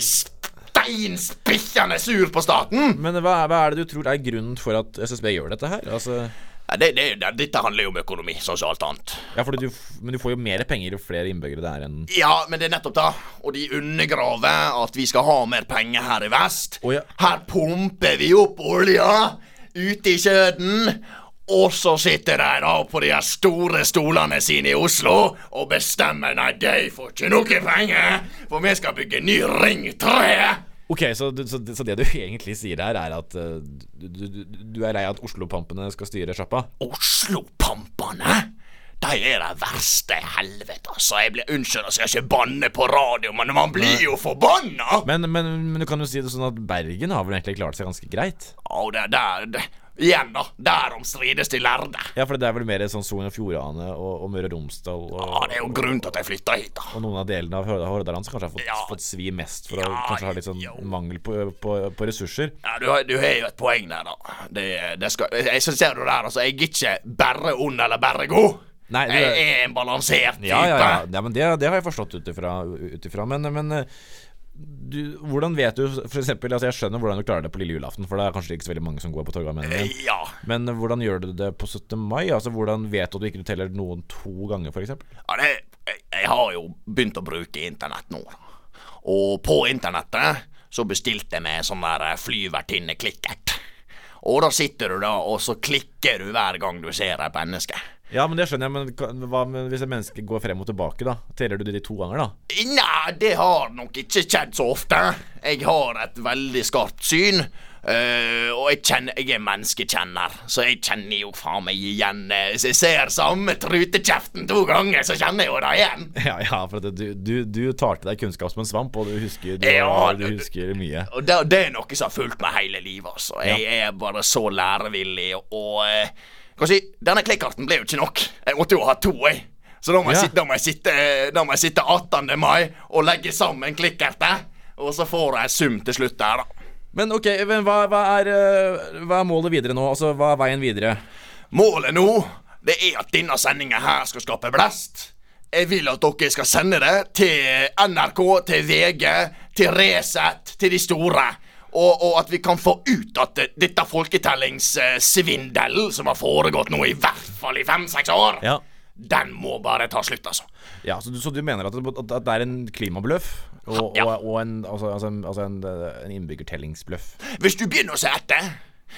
[SPEAKER 2] er steinspikkende sur på staten!
[SPEAKER 1] men hva er, hva er det du tror er grunnen for at SSB gjør dette her? Altså,
[SPEAKER 2] Ja, det, det, det, dette handler jo om økonomi, sånn som alt annet.
[SPEAKER 1] ja, fordi du, f- men du får jo mer penger jo flere innbyggere det er enn
[SPEAKER 2] Ja, men det er nettopp det. Og de undergraver at vi skal ha mer penger her i vest.
[SPEAKER 1] Å, ja.
[SPEAKER 2] Her pumper vi opp olja ute i kjøden. Og så sitter de da på de her store stolene sine i Oslo og bestemmer Nei, de får ikke noe penger, for vi skal bygge ny Ring 3.
[SPEAKER 1] Ok, så, du- så, så det du egentlig sier her, er at eh, du, du, du- du er lei av at Oslo-pampene skal styre sjappa?
[SPEAKER 2] Oslo-pampene? De er det verste i helvete, altså. Jeg blir Unnskyld, altså, jeg skal ikke banne på radio, men man blir jo forbanna!
[SPEAKER 1] Men, men, men du kan jo si det sånn at Bergen har vel egentlig klart seg ganske greit?
[SPEAKER 2] Å, det der det. Igjen, da. Derom strides de lærde.
[SPEAKER 1] Ja, for det er vel mer sånn Sogn og Fjordane og, og Møre og Romsdal og,
[SPEAKER 2] Ja, det er jo grunnen til at jeg flytta hit, da.
[SPEAKER 1] og noen av delene av Hor- Hordaland som kanskje har fått,
[SPEAKER 2] Ja.
[SPEAKER 1] fått svi mest for å
[SPEAKER 2] Ja,
[SPEAKER 1] kanskje ha litt sånn
[SPEAKER 2] jo.
[SPEAKER 1] mangel på, på, på ressurser.
[SPEAKER 2] Ja, du, har- du har jo et poeng der, da. Det, det skal, jeg, så ser du der, altså. Jeg er ikke bare ond eller bare god.
[SPEAKER 1] Nei, du-
[SPEAKER 2] jeg er en balansert type.
[SPEAKER 1] Ja, ja, ja. ja men det, det har jeg forstått ut ifra. Men, men eh, du, hvordan vet du for eksempel, altså Jeg skjønner hvordan du klarer det på lille julaften, for det er kanskje ikke så veldig mange som går på Torgallmenningen.
[SPEAKER 2] ja.
[SPEAKER 1] Men hvordan gjør du det på 17. mai? Altså, hvordan vet du at du ikke teller noen to ganger, f.eks.?
[SPEAKER 2] Ja, det, jeg, jeg har jo begynt å bruke internett nå. Og på internettet så bestilte jeg meg sånn der eh, flyvertinne-klikkert. Og da sitter du da, og så klikker du hver gang du ser et menneske.
[SPEAKER 1] Ja, men det skjønner jeg, men ka- hva med hvis et menneske går frem og tilbake, da? Teller du de to ganger, da?
[SPEAKER 2] Nei, det har nok ikke skjedd så ofte. Jeg har et veldig skarpt syn. eh, og jeg, kjenner, jeg er menneskekjenner, så jeg kjenner jo faen meg igjen eh, Hvis jeg ser samme trutekjeften to ganger, så kjenner jeg jo det igjen.
[SPEAKER 1] Ja, ja, for at du, du, du tar til deg kunnskap som en svamp, og du husker, du,
[SPEAKER 2] Ja,
[SPEAKER 1] du husker mye.
[SPEAKER 2] Og det, det er noe som har fulgt meg hele livet, altså. Jeg er bare så lærevillig, og eh, kan si, Denne klikkarten ble jo ikke nok. Jeg måtte jo ha to, jeg. Så da må,
[SPEAKER 1] Ja.
[SPEAKER 2] jeg, sitte- da må jeg sitte eh, Da må jeg sitte 18. mai og legge sammen klikkerter, og så får jeg sum til slutt der, da.
[SPEAKER 1] Men ok, men hva, hva, er, eh, hva er målet videre nå? Altså, hva er veien videre?
[SPEAKER 2] Målet nå det er at denne sendinga her skal skape blest. Jeg vil at dere skal sende det til NRK, til VG, til Resett, til de store. Og, og at vi kan få ut at det- dette folketellingssvindelen som har foregått nå i hvert fall i fem-seks år,
[SPEAKER 1] Ja.
[SPEAKER 2] den må bare ta slutt, altså.
[SPEAKER 1] Ja, så du, så du mener at, det- at det er en klimabløff? Og,
[SPEAKER 2] Ja.
[SPEAKER 1] og, og en, altså, altså, en, altså en, eh, en innbyggertellingsbløff?
[SPEAKER 2] Hvis du begynner å se etter,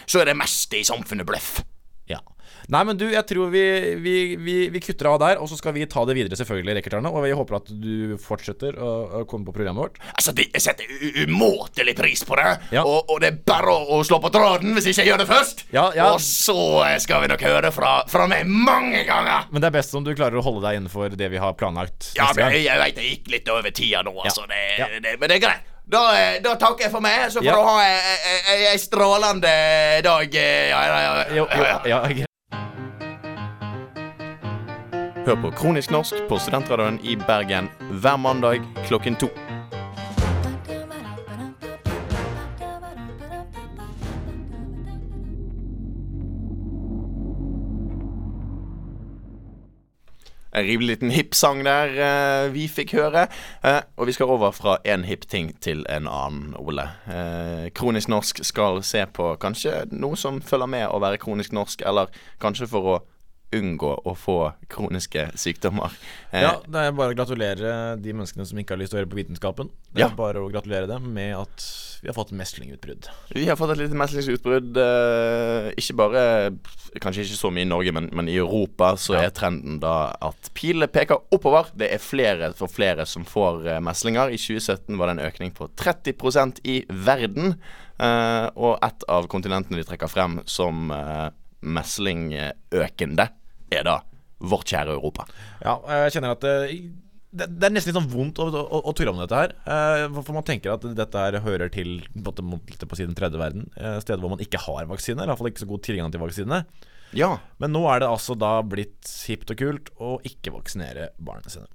[SPEAKER 2] så er det meste i samfunnet bløff.
[SPEAKER 1] Ja. Nei, men du, jeg tror vi, vi, vi, vi kutter av der, og så skal vi ta det videre, selvfølgelig, rekkerterne. Og jeg håper at du fortsetter å, å komme på programmet vårt.
[SPEAKER 2] Altså, det, Jeg setter u- umåtelig pris på det,
[SPEAKER 1] Ja.
[SPEAKER 2] og, og det er bare å, å slå på tråden hvis ikke jeg gjør det først.
[SPEAKER 1] Ja, ja.
[SPEAKER 2] Og så eh, skal vi nok høre fra, fra meg mange ganger.
[SPEAKER 1] Men det er best om du klarer å holde deg innenfor det vi har planlagt.
[SPEAKER 2] Ja,
[SPEAKER 1] neste
[SPEAKER 2] men
[SPEAKER 1] gang.
[SPEAKER 2] jeg, jeg veit jeg gikk litt over tida nå, altså. Det,
[SPEAKER 1] Ja.
[SPEAKER 2] det, men det er greit. Da, eh, da takker jeg for meg, så får
[SPEAKER 1] Ja.
[SPEAKER 2] du ha eh, ei- ei- ei- ei strålende dag. eh, Ja, ja, ja,
[SPEAKER 1] Jo, jo, ja, greit.
[SPEAKER 2] Hør på Kronisk norsk på Studentradioen i Bergen hver mandag klokken to. En rimelig liten hip-sang der eh, vi fikk høre. Eh, og vi skal over fra en hip ting til en annen, Ole. Eh, kronisk norsk skal se på kanskje noe som følger med å være kronisk norsk, eller kanskje for å unngå å få kroniske sykdommer. Eh,
[SPEAKER 1] Ja, det er bare å gratulere de menneskene som ikke har lyst til å høre på Vitenskapen. Det
[SPEAKER 2] Ja.
[SPEAKER 1] er bare å gratulere dem med at vi har fått meslingutbrudd.
[SPEAKER 2] Vi har fått et lite meslingsutbrudd. eh, ikke bare Kanskje ikke så mye i Norge, men, men i Europa så er trenden da at pilene peker oppover. Det er flere for flere som får eh, meslinger. I 2017 var det en økning på 30 i verden. Eh, og et av kontinentene de trekker frem som eh, meslingøkende, er da vårt kjære Europa.
[SPEAKER 1] Ja, eh, jeg kjenner at det, det, det er nesten litt sånn vondt å, å, å tulle om dette her. eh, For for man tenker at dette her hører til på en måte litt på siden tredje verden. eh, Steder hvor man ikke har vaksine, eller iallfall ikke så god tilgang til vaksine.
[SPEAKER 2] Ja,
[SPEAKER 1] Men nå er det altså da blitt hipt og kult å ikke vaksinere barna sine.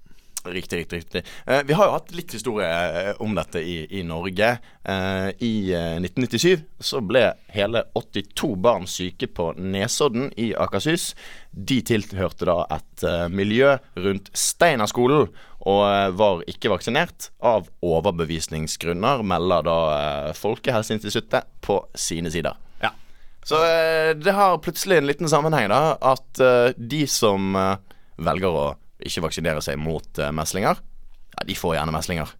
[SPEAKER 2] Riktig, riktig. riktig Eh, Vi har jo hatt litt historie eh, om dette i, i Norge. Eh, I eh, 1997 så ble hele 82 barn syke på Nesodden i Akershus. De tilhørte da et eh, miljø rundt Steinerskolen og eh, var ikke vaksinert av overbevisningsgrunner, melder da eh, Folkehelseinstituttet på sine sider.
[SPEAKER 1] Ja.
[SPEAKER 2] Så eh, det har plutselig en liten sammenheng, da. At eh, de som eh, velger å ikke vaksinere seg mot eh, meslinger, ja, de får gjerne meslinger.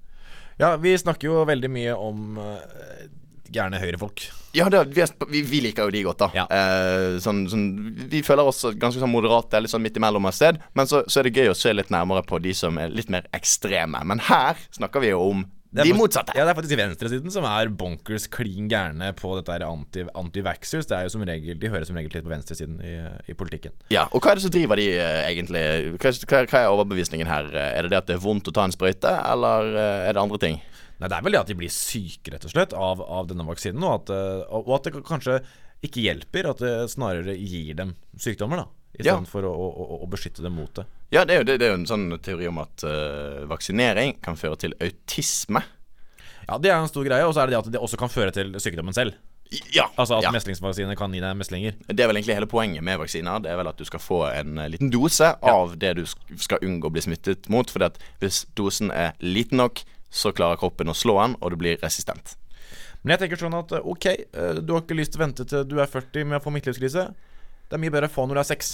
[SPEAKER 1] Ja, vi snakker jo veldig mye om eh, gærne høyrefolk.
[SPEAKER 2] Ja, det, vi, er, vi, vi liker jo de godt, da.
[SPEAKER 1] Ja.
[SPEAKER 2] Eh, sånn, sånn, vi føler oss ganske sånn moderate, litt sånn midt imellom et sted. Men så, så er det gøy å se litt nærmere på de som er litt mer ekstreme. Men her snakker vi jo om
[SPEAKER 1] Det er
[SPEAKER 2] de
[SPEAKER 1] fakt-
[SPEAKER 2] motsatte.
[SPEAKER 1] Ja, det er faktisk venstresiden som er bonkers klin gærne på dette her anti, anti-vaxxers. Det er jo som regel, De hører som regel til på venstresiden i, i politikken.
[SPEAKER 2] Ja, Og hva er det som driver de eh, egentlig? Hva, er- hva, er- hva er overbevisningen her? Eh, Er det det at det er vondt å ta en sprøyte, eller eh, er det andre ting?
[SPEAKER 1] Nei, Det er vel det at de blir syke rett og slett av, av denne vaksinen, og at, eh, og og at det k- kanskje ikke hjelper. At det snarere gir dem sykdommer, da. I
[SPEAKER 2] Ja.
[SPEAKER 1] stedet for å, å, å- å beskytte dem mot det.
[SPEAKER 2] Ja, det er jo, det, det er jo en sånn teori om at eh, vaksinering kan føre til autisme.
[SPEAKER 1] Ja, Det er en stor greie. Og så er det det at det også kan føre til sykdommen selv.
[SPEAKER 2] I- Ja,
[SPEAKER 1] Altså at
[SPEAKER 2] ja.
[SPEAKER 1] meslingsvaksiner kan gi deg meslinger.
[SPEAKER 2] Det er vel egentlig hele poenget med vaksiner. Det er vel at du skal få en eh, liten dose av det du sk- skal unngå å bli smittet mot. For hvis dosen er liten nok, så klarer kroppen å slå den, og du blir resistent.
[SPEAKER 1] Men jeg tenker sånn at eh, ok, eh, du har ikke lyst til å vente til du er 40 med å få midtlivskrise. Det er mye bedre å få når du er 6.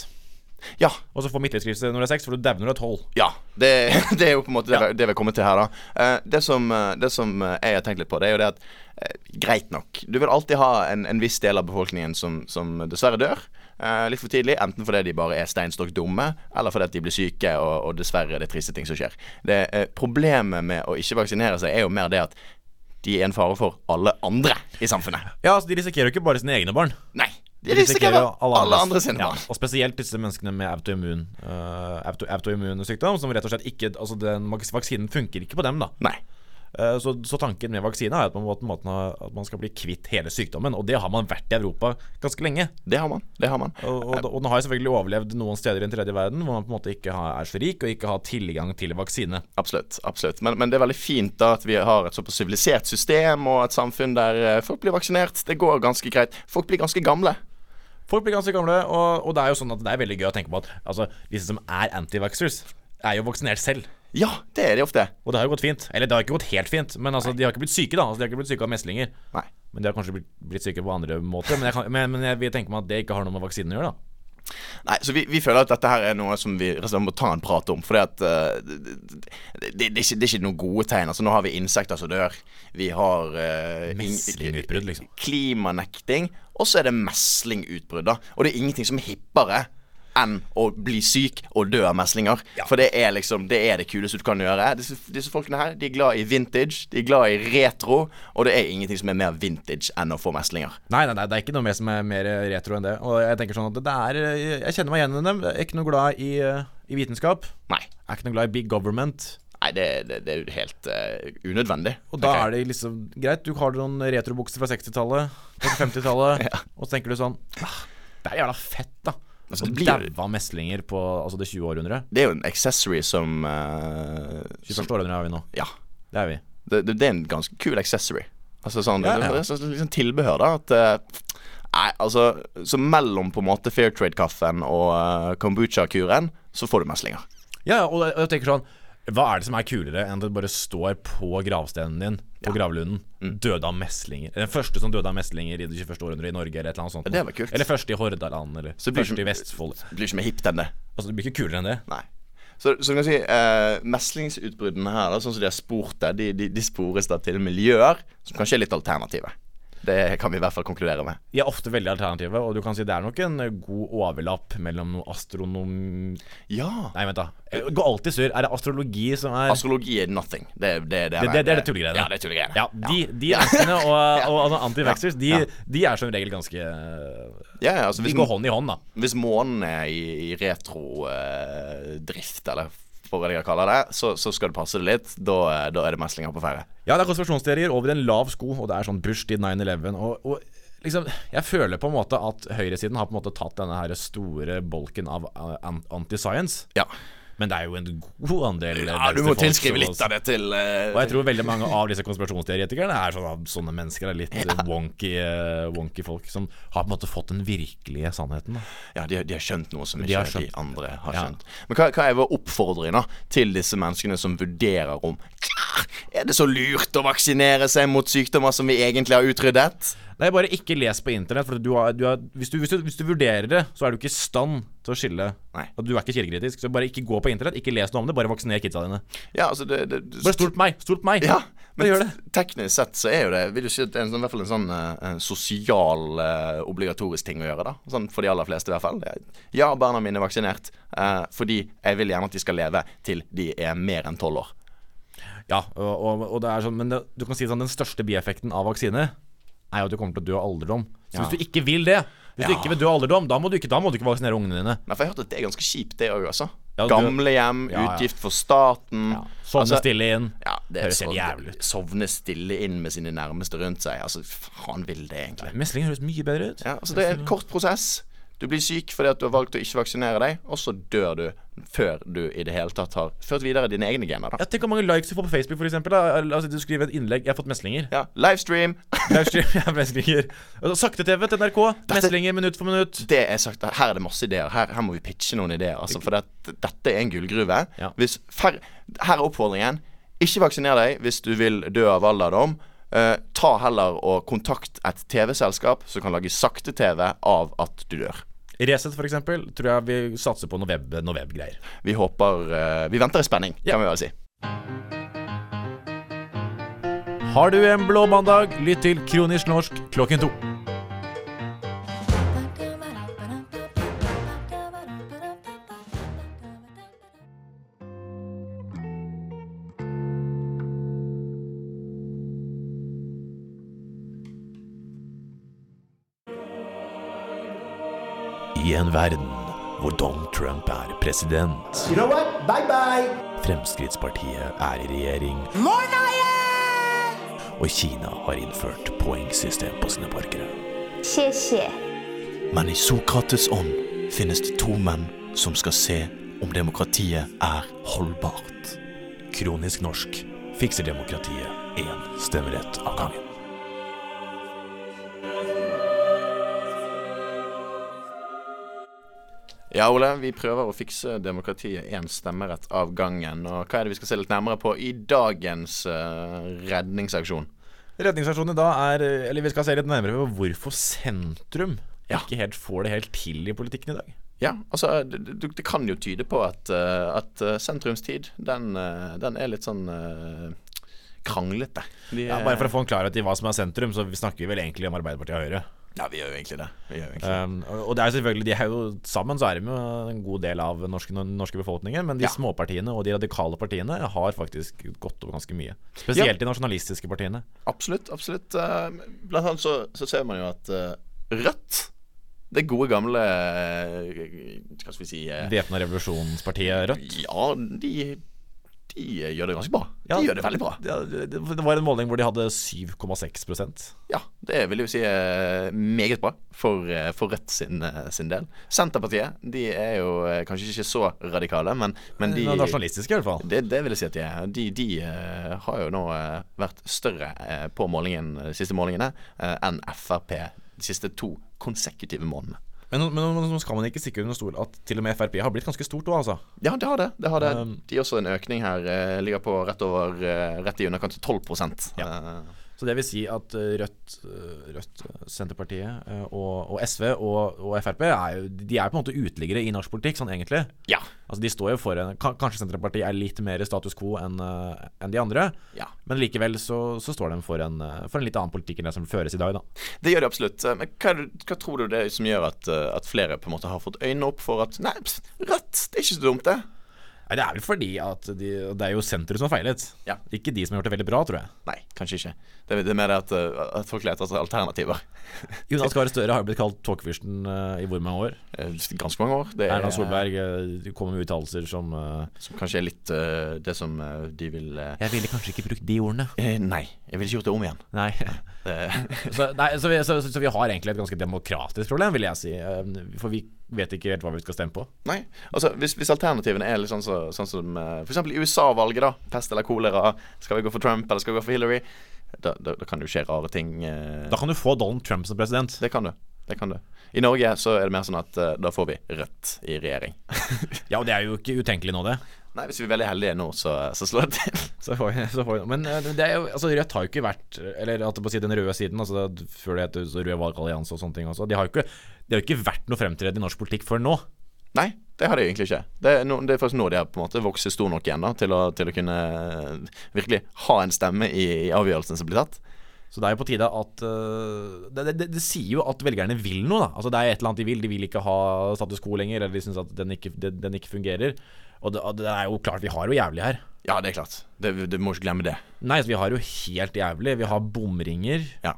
[SPEAKER 2] Ja.
[SPEAKER 1] Og så får midtlivskrise når du er 6, for du dauer når du er 12.
[SPEAKER 2] Ja, det, det er jo på en måte det, det vi har kommet til her, da. Eh, det, som, eh, det som eh, jeg har tenkt litt på, det er jo det at eh, Greit nok. Du vil alltid ha en, en viss del av befolkningen som, som dessverre dør. eh, litt for tidlig. Enten fordi de bare er steinstokk dumme, eller fordi at de blir syke, og, og dessverre det er triste ting som skjer. Det, eh, problemet med å ikke vaksinere seg er jo mer det at de er en fare for alle andre i samfunnet.
[SPEAKER 1] Ja, altså De risikerer jo ikke bare sine egne barn.
[SPEAKER 2] Nei. De risikerer alle,
[SPEAKER 1] andres.
[SPEAKER 2] andre sine barn.
[SPEAKER 1] Ja, og spesielt disse menneskene med autoimmun eh, auto, autoimmun sykdom, som rett og slett ikke Altså den vaks- vaksinen funker ikke på dem, da.
[SPEAKER 2] Nei.
[SPEAKER 1] Eh, så, så tanken med vaksine er at man, på en måte har- at man skal bli kvitt hele sykdommen, og det har man vært i Europa ganske lenge.
[SPEAKER 2] Det har man. Det har man.
[SPEAKER 1] Og, og, og den har jo selvfølgelig overlevd noen steder i den tredje verden hvor man på en måte ikke har, er så rik og ikke har tilgang til vaksine.
[SPEAKER 2] Absolutt. absolutt men, men det er veldig fint da at vi har et såpass sivilisert system og et samfunn der eh, folk blir vaksinert. Det går ganske greit. Folk blir ganske gamle.
[SPEAKER 1] Folk blir ganske gamle, og, og det er jo sånn at det er veldig gøy å tenke på at altså, disse som er antivaxxers, er jo vaksinert selv.
[SPEAKER 2] Ja, det er de ofte.
[SPEAKER 1] Og det har jo gått fint. Eller det har ikke gått helt fint, men altså, de har ikke blitt syke, da. Altså, de har ikke blitt syke av meslinger.
[SPEAKER 2] Nei.
[SPEAKER 1] Men de har kanskje blitt, blitt syke på andre måter. Men jeg, kan, men, men jeg vil tenke meg at det ikke har noe med vaksinen å gjøre, da.
[SPEAKER 2] Nei, så vi, vi føler at dette her er noe som vi rett og slett må ta en prat om. Fordi at eh, det, det, det, er ikke, det er ikke noen gode tegn. Altså Nå har vi insekter som dør. Vi har eh, ing-
[SPEAKER 1] Meslingutbrudd, liksom.
[SPEAKER 2] Klimanekting. Og så er det meslingutbrudd, da. Og det er ingenting som er hippere enn å bli syk og dø av meslinger. For det er liksom Det er det kuleste du kan gjøre. Disse, disse folkene her De er glad i vintage, de er glad i retro, og det er ingenting som er mer vintage enn å få meslinger.
[SPEAKER 1] Nei, nei, nei, det er ikke noe mer som er mer retro enn det. Og jeg tenker sånn at det er Jeg kjenner meg igjen i dem. Jeg er ikke noe glad i, eh, i vitenskap.
[SPEAKER 2] Nei.
[SPEAKER 1] Jeg er ikke noe glad i big government.
[SPEAKER 2] Nei, det, det, det er jo helt eh, unødvendig.
[SPEAKER 1] Og da er det liksom greit. Du har noen retrobukser fra 60-tallet, kanskje 50-tallet, og så tenker du sånn ah, Det er jævla fett, da.
[SPEAKER 2] Altså,
[SPEAKER 1] Og
[SPEAKER 2] det blir-
[SPEAKER 1] daua meslinger på altså det 20. århundret.
[SPEAKER 2] Det er jo en accessory som eh, som-
[SPEAKER 1] 21. århundre er vi nå.
[SPEAKER 2] Ja.
[SPEAKER 1] Det er vi.
[SPEAKER 2] Det, det, det er en ganske kul accessory. Altså sånn,
[SPEAKER 1] Ja,
[SPEAKER 2] Det,
[SPEAKER 1] ja.
[SPEAKER 2] det, er sånn- liksom tilbehør, da. At eh, Nei, altså Så mellom på en måte Fair Trade-kaffen og eh, kombucha-kuren, så får du meslinger.
[SPEAKER 1] Ja, ja, og jeg- og jeg tenker sånn Hva er det som er kulere enn at det bare står på gravstenen din, på gravlunden,
[SPEAKER 2] Mm.
[SPEAKER 1] døde av meslinger? Den første som døde av meslinger i det 21. århundret i Norge, eller et eller annet sånt.
[SPEAKER 2] det var kult.
[SPEAKER 1] Eller første i Hordaland, eller
[SPEAKER 2] blir
[SPEAKER 1] første
[SPEAKER 2] det-
[SPEAKER 1] i Vestfold.
[SPEAKER 2] Det blir ikke mer hipt enn det.
[SPEAKER 1] Altså, det blir ikke kulere enn det.
[SPEAKER 2] Nei. Så, så du kan si eh, meslingsutbruddene her, da, sånn som de har spurt det, de, de, de spores da til miljøer som kanskje er litt alternative. Det kan vi i hvert fall konkludere med.
[SPEAKER 1] De er ofte veldig alternative, og du kan si det er nok en eh, god overlapp mellom noe astronom...
[SPEAKER 2] Ja.
[SPEAKER 1] Nei, vent da. Jeg Går alltid surr. Er det astrologi som er
[SPEAKER 2] Astrologi er nothing. Det, det,
[SPEAKER 1] det,
[SPEAKER 2] det,
[SPEAKER 1] det, det er det tullegreiene.
[SPEAKER 2] Ja, det er tullegreiene.
[SPEAKER 1] Ja, de de menneskene og, og altså, antivaxxers, de, de er som regel ganske eh,
[SPEAKER 2] Ja, ja, altså,
[SPEAKER 1] De
[SPEAKER 2] hvis,
[SPEAKER 1] går hånd i hånd, da.
[SPEAKER 2] hvis månen er i, i retrodrift, eller hva jeg skal kalle det, så, så skal du passe det litt. Da, eh, da er det meslinger på ferde.
[SPEAKER 1] Ja, det er konspirasjonsteorier over en lav sko, og det er sånn Bush-tid 9-11. Og, og liksom, jeg føler på en måte at høyresiden har på en måte tatt denne her store bolken av eh, an- anti-science.
[SPEAKER 2] Ja.
[SPEAKER 1] Men det er jo en god andel eh,
[SPEAKER 2] du må
[SPEAKER 1] venstrefolk
[SPEAKER 2] tilskrive
[SPEAKER 1] som
[SPEAKER 2] litt
[SPEAKER 1] også-
[SPEAKER 2] av det til eh,
[SPEAKER 1] Og jeg tror veldig mange av disse konspirasjonsteoretikerne er sånne, sånne mennesker. er Litt eh, wonky, eh, wonky folk som har på en måte fått den virkelige sannheten. Da.
[SPEAKER 2] Ja, de, har- de har skjønt noe som
[SPEAKER 1] De
[SPEAKER 2] ikke
[SPEAKER 1] har
[SPEAKER 2] de,
[SPEAKER 1] skjønt.
[SPEAKER 2] andre har
[SPEAKER 1] Ja.
[SPEAKER 2] skjønt. Men hva, hva er vår oppfordring da til disse menneskene som vurderer om Er det så lurt å vaksinere seg mot sykdommer som vi egentlig har utryddet?
[SPEAKER 1] Nei, bare ikke les på internett. For du har, du har, hvis, du, hvis, du, hvis du vurderer det, så er du ikke i stand til å skille.
[SPEAKER 2] Nei.
[SPEAKER 1] Og du er ikke kildekritisk. Så bare ikke gå på internett, ikke les noe om det. Bare vaksiner kidsa dine.
[SPEAKER 2] Ja, altså det, det,
[SPEAKER 1] Bare stol på meg! Stol på meg!
[SPEAKER 2] Ja,
[SPEAKER 1] men
[SPEAKER 2] men
[SPEAKER 1] gjør det.
[SPEAKER 2] te- teknisk sett så er jo det Vil du si at det er en sånn, i hvert fall en sånn eh, en sosial, eh, obligatorisk ting å gjøre, da? Sånn for de aller fleste, i hvert fall. Jeg- Ja, barna mine er vaksinert, eh, fordi jeg vil gjerne at de skal leve til de er mer enn tolv år.
[SPEAKER 1] Ja, og, og, og det er sånn, men det, du kan si sånn, den største bieffekten av vaksine er jo at du kommer til å dø av alderdom. Så hvis du ikke vil det, hvis du
[SPEAKER 2] Ja.
[SPEAKER 1] ikke vil dø av alderdom, da må du ikke, da må du ikke vaksinere ungene dine.
[SPEAKER 2] Nei, for jeg har hørt at det er ganske kjipt, det òg, altså.
[SPEAKER 1] Ja, du-
[SPEAKER 2] Gamlehjem,
[SPEAKER 1] Ja, ja.
[SPEAKER 2] utgift for staten.
[SPEAKER 1] Sovne
[SPEAKER 2] Altså,
[SPEAKER 1] stille inn.
[SPEAKER 2] Ja, det er
[SPEAKER 1] Høres helt
[SPEAKER 2] så-
[SPEAKER 1] jævlig ut.
[SPEAKER 2] Sovne stille inn med sine nærmeste rundt seg. Altså, faen vil det egentlig?
[SPEAKER 1] Mesling høres mye bedre ut.
[SPEAKER 2] Ja, altså Det er en kort prosess. Du blir syk fordi at du har valgt å ikke vaksinere deg, og så dør du før du i det hele tatt har ført videre dine egne gener. da
[SPEAKER 1] Ja, tenk hvor mange likes du får på Facebook, for eksempel. Da. Altså, du skriver et innlegg 'Jeg har fått meslinger'.
[SPEAKER 2] Ja, Livestream!
[SPEAKER 1] Livestream, jeg har meslinger. Altså, Sakte-TV til NRK. Meslinger minutt for minutt.
[SPEAKER 2] Det er sagt, her er det masse ideer. Her, her må vi pitche noen ideer. Altså, for det, dette er en gullgruve.
[SPEAKER 1] Ja.
[SPEAKER 2] Hvis færre- her er oppfordringen. Ikke vaksiner deg hvis du vil dø av alderdom. Eh, ta heller og kontakt et TV-selskap som kan lage sakte-TV av at du dør.
[SPEAKER 1] Resett, for eksempel, tror jeg vi satser på noe web- noe web-greier.
[SPEAKER 2] Vi håper eh, Vi venter i spenning, kan vi vel si.
[SPEAKER 1] Har du en blå mandag, lytt til Kronisk norsk klokken to.
[SPEAKER 4] Ba-da-ba-da-ba-da-ba-ba.
[SPEAKER 1] i en verden hvor Donald Trump er president,
[SPEAKER 4] You know what? Bye bye.
[SPEAKER 1] Fremskrittspartiet er i regjering, og Kina har innført poengsystem på sine borgere.
[SPEAKER 5] 谢谢。
[SPEAKER 2] Men i Sokrates ånd finnes det to menn som skal se om demokratiet er holdbart.
[SPEAKER 1] Kronisk norsk fikser demokratiet én stemmerett av gangen.
[SPEAKER 2] Ja, Ole, vi prøver å fikse demokratiet én stemmerett av gangen. Og hva er det vi skal se litt nærmere på i dagens eh, redningsaksjon?
[SPEAKER 1] Redningsaksjonen i dag er Eller vi skal se litt nærmere på hvorfor sentrum
[SPEAKER 2] Ja.
[SPEAKER 1] ikke helt får det helt til i politikken i dag.
[SPEAKER 2] Ja, altså det, det, det kan jo tyde på at, eh, at eh, sentrumstid, den, eh, den er litt sånn eh, kranglete. eh, De,
[SPEAKER 1] Ja, bare for å få en klarhet i hva som er sentrum, så snakker vi vel egentlig om Arbeiderpartiet og Høyre.
[SPEAKER 2] ja, vi gjør jo egentlig det. Vi gjør jo egentlig det.
[SPEAKER 1] Um, og og det er jo selvfølgelig, de er jo sammen så er de jo en god del av den norske, den norske befolkningen, men de
[SPEAKER 2] Ja.
[SPEAKER 1] småpartiene og de radikale partiene har faktisk gått over ganske mye. Spesielt de nasjonalistiske partiene.
[SPEAKER 2] Absolutt. absolutt Eh, Blant annet så, så ser man jo at eh, Rødt, det gode gamle eh, Hva skal vi si eh,
[SPEAKER 1] Væpna revolusjonspartiet Rødt.
[SPEAKER 2] Ja, de, de gjør det ganske bra.
[SPEAKER 1] Ja,
[SPEAKER 2] De gjør det veldig bra.
[SPEAKER 1] Ja, det, det var en måling hvor de hadde 7,6
[SPEAKER 2] Ja, det vil jeg jo si er meget bra for, eh, for Rødt sin, eh, sin del. Senterpartiet de er jo eh, kanskje ikke så radikale, men, men de
[SPEAKER 1] Eh, Nasjonalistiske, i hvert fall.
[SPEAKER 2] det, det vil jeg si at de er. De, de eh, har jo nå eh, vært større eh, på målingen, de siste målingene eh, enn Frp de siste to konsekutive månedene.
[SPEAKER 1] Men, men, men nå skal man ikke stikke under stol at til og med Frp har blitt ganske stort òg, altså.
[SPEAKER 2] Ja, det har det. det, har det. de har også en økning her. eh, ligger på rett over eh, rett i underkant av 12 Eh,
[SPEAKER 1] Så det vil si at eh, Rødt, eh, Rødt eh, Senterpartiet eh, og, og SV og, og Frp er jo De er på en måte uteliggere i norsk politikk, sånn egentlig.
[SPEAKER 2] Ja.
[SPEAKER 1] Altså De står jo for en ka- Kanskje Senterpartiet er litt mer status quo enn eh, enn de andre.
[SPEAKER 2] Ja.
[SPEAKER 1] Men likevel så, så står de for en, eh, for en litt annen politikk enn det som føres i dag, da.
[SPEAKER 2] Det gjør det absolutt. Eh, Men hva, er det- hva tror du det er som gjør at, eh, at flere på en måte har fått øynene opp for at Nei, pst, Rødt, det er ikke så dumt, det.
[SPEAKER 1] Nei, Det er vel fordi at de, det er jo sentrum som har feilet.
[SPEAKER 2] Ja.
[SPEAKER 1] Ikke de som har gjort det veldig bra, tror jeg.
[SPEAKER 2] Nei, kanskje ikke. Det, er- det er mer det at, eh, at folk leter etter alternativer.
[SPEAKER 1] Jonas Gahr Støre har jo blitt kalt tåkefyrsten eh, i hvor mange år?
[SPEAKER 2] Eh, Ganske mange år. Det er,
[SPEAKER 1] Erna Solberg eh, kommer med uttalelser som eh,
[SPEAKER 2] Som kanskje er litt eh, det som eh, de vil eh,
[SPEAKER 1] Jeg ville kanskje ikke brukt de ordene.
[SPEAKER 2] eh, Nei, jeg ville ikke gjort det om igjen. Eh,
[SPEAKER 1] Nei.
[SPEAKER 2] Det-
[SPEAKER 1] Så, nei så, vi, så, så, så vi har egentlig et ganske demokratisk problem, vil jeg si. Eh, For vi vet ikke helt hva vi skal stemme på.
[SPEAKER 2] Nei. Altså, hvis, hvis alternativene er litt sånn, så, sånn som eh, for eksempel i USA-valget, da. Pest eller kolera. Skal vi gå for Trump, eller skal vi gå for Hillary? Da, da, da kan det jo skje rare ting. eh,
[SPEAKER 1] Da kan du få Donald Trump som president.
[SPEAKER 2] Det kan du. Det kan du. I Norge så er det mer sånn at eh, da får vi Rødt i regjering.
[SPEAKER 1] Ja, og det er jo ikke utenkelig nå, det.
[SPEAKER 2] Nei, hvis vi er veldig heldige nå, så, så slår det til.
[SPEAKER 1] Så får vi, så får vi. Men eh, det er jo, altså, Rødt har jo ikke vært Eller at på å si den røde siden, altså, det- før det het så Rød valgallianse og sånne ting også. De har jo ikke, de har jo ikke vært noe fremtredende i norsk politikk før nå.
[SPEAKER 2] Nei, det har de egentlig ikke. Det er, no, det er faktisk nå de har på en måte vokst stor nok igjen da, til å, til å kunne eh, virkelig ha en stemme i, i avgjørelsen som blir tatt.
[SPEAKER 1] Så det er jo på tide at øh, det, det, det, det sier jo at velgerne vil noe, da. Altså Det er et eller annet de vil. De vil ikke ha status quo lenger, eller de syns at den ikke, den, den ikke fungerer. Og det, og det er jo klart, vi har jo jævlig her.
[SPEAKER 2] Ja, det er klart. Det, du må ikke glemme det.
[SPEAKER 1] Nei, så vi har jo helt jævlig. Vi har bomringer.
[SPEAKER 2] Ja,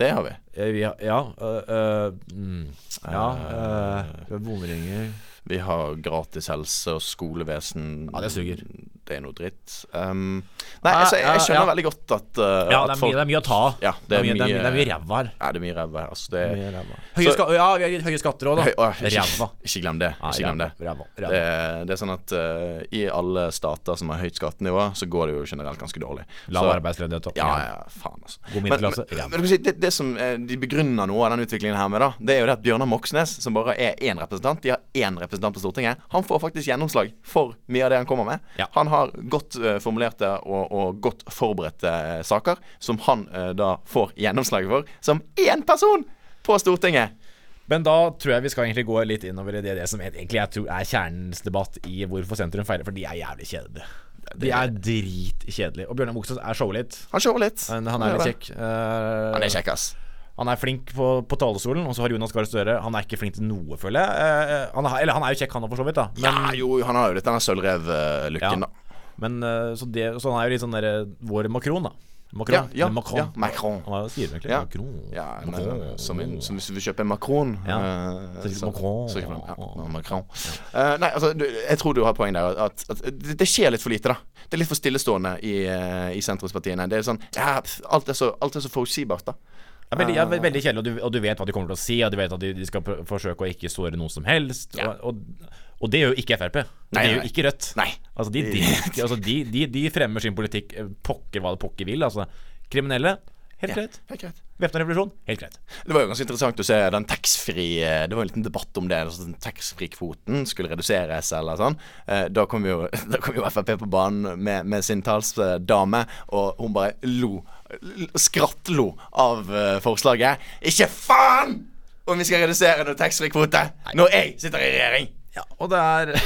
[SPEAKER 2] det har vi.
[SPEAKER 1] Eh, Vi har, ja øh, øh, mm, Ja, øh, vi har bomringer.
[SPEAKER 2] Vi har gratis helse og skolevesen.
[SPEAKER 1] Ja, det suger.
[SPEAKER 2] Det er noe dritt. Um, nei, altså, jeg, jeg skjønner
[SPEAKER 1] Ja, ja.
[SPEAKER 2] veldig godt at, uh,
[SPEAKER 1] Ja,
[SPEAKER 2] at
[SPEAKER 1] det er mye, det er mye å ta av.
[SPEAKER 2] Ja, det er
[SPEAKER 1] det er
[SPEAKER 2] mye-
[SPEAKER 1] mye, det er mye ræva her.
[SPEAKER 2] Ja, det er mye ræva her. Altså, det er
[SPEAKER 1] Høye,
[SPEAKER 2] Så-
[SPEAKER 1] ska ja, vi har høye skatter òg,
[SPEAKER 2] Høy,
[SPEAKER 1] da.
[SPEAKER 2] åh, ikke,
[SPEAKER 1] Ræva.
[SPEAKER 2] ikke glem det.
[SPEAKER 1] Nei,
[SPEAKER 2] Ikke glem det.
[SPEAKER 1] ræva, ræva, ræva.
[SPEAKER 2] Det, er- det er sånn at eh, i alle stater som har høyt skattenivå, så går det jo generelt ganske dårlig.
[SPEAKER 1] Lav
[SPEAKER 2] Så-
[SPEAKER 1] arbeidsledighet og
[SPEAKER 2] Ja, ja, faen, altså.
[SPEAKER 1] God
[SPEAKER 2] Men, men,
[SPEAKER 1] middelklasse, ræva.
[SPEAKER 2] men du kan si, det, det som eh, de begrunner noe av den utviklingen her med, da, det er jo det at Bjørnar Moxnes, som bare er én representant, de har én representant på Stortinget, han får faktisk gjennomslag for mye av det han kommer med.
[SPEAKER 1] Ja.
[SPEAKER 2] Han har godt eh, formulerte og, og godt forberedte eh, saker, som han eh, da får gjennomslag for, som én person på Stortinget.
[SPEAKER 1] Men da tror jeg vi skal egentlig gå litt innover i det, det som egentlig jeg tror er kjernens debatt i hvorfor sentrum feiler, for de er jævlig kjedelige. De er dritkjedelige. Og Bjørnar Moxnes er showlitt.
[SPEAKER 2] Han shower litt.
[SPEAKER 1] Han han er
[SPEAKER 2] gjør
[SPEAKER 1] litt
[SPEAKER 2] det.
[SPEAKER 1] kjekk.
[SPEAKER 2] Han er
[SPEAKER 1] Eh,
[SPEAKER 2] kjekk, ass.
[SPEAKER 1] han er flink på, på talerstolen. Og så har Jonas Gahr Støre Han er ikke flink til noe, føler jeg. Eh, han er, eller han er jo kjekk, han òg, for så vidt. da Men,
[SPEAKER 2] ja, jo, han har jo litt denne sølvrev-looken,
[SPEAKER 1] Ja.
[SPEAKER 2] da.
[SPEAKER 1] men eh, så, det, så han er jo litt sånn der, eh, vår makron, da. Macron.
[SPEAKER 2] Ja, ja,
[SPEAKER 1] Eller Macron.
[SPEAKER 2] ja, Macron.
[SPEAKER 1] Hva sier du egentlig?
[SPEAKER 2] Ja.
[SPEAKER 1] Macron.
[SPEAKER 2] Ja, nei,
[SPEAKER 1] Macron.
[SPEAKER 2] som, en, som hvis du vil kjøpe en makron.
[SPEAKER 1] Ja. Så
[SPEAKER 2] eh,
[SPEAKER 1] sier du Macron.
[SPEAKER 2] så kjøper du en- ja, en makron. Eh, nei, altså, du, jeg tror du har poeng der. At, at det, det skjer litt for lite, da. Det er litt for stillestående i, eh, i sentrumspartiene. Det er sånn ja, pff, Alt er så, alt er så forutsigbart, da.
[SPEAKER 1] Ja, veldig, ja, ve- veldig kjedelig, og du, og du vet hva de kommer til å si, og du vet at de, de skal pr- forsøke å ikke såre noen som helst.
[SPEAKER 2] Ja.
[SPEAKER 1] Og, og, og det gjør jo ikke Frp. Det
[SPEAKER 2] Nei,
[SPEAKER 1] gjør
[SPEAKER 2] nei.
[SPEAKER 1] jo ikke Rødt.
[SPEAKER 2] Nei.
[SPEAKER 1] Altså, de, de, altså, de, de, de fremmer sin politikk eh, pokker hva det pokker vil. Altså, kriminelle, helt greit.
[SPEAKER 2] Det er greit.
[SPEAKER 1] Væpna revolusjon, helt greit.
[SPEAKER 2] Det var jo ganske interessant å se den taxfree eh, Det var en liten debatt om det. Altså, den Taxfree-kvoten skulle reduseres eller sånn. Eh, Da kom jo, da kom jo Frp på banen med, med sin talsdame, og hun bare lo. l- Skrattlo av eh, forslaget. Ikke faen om vi skal redusere noe taxfree-kvote når jeg sitter i regjering!
[SPEAKER 1] Ja, og det er
[SPEAKER 2] Det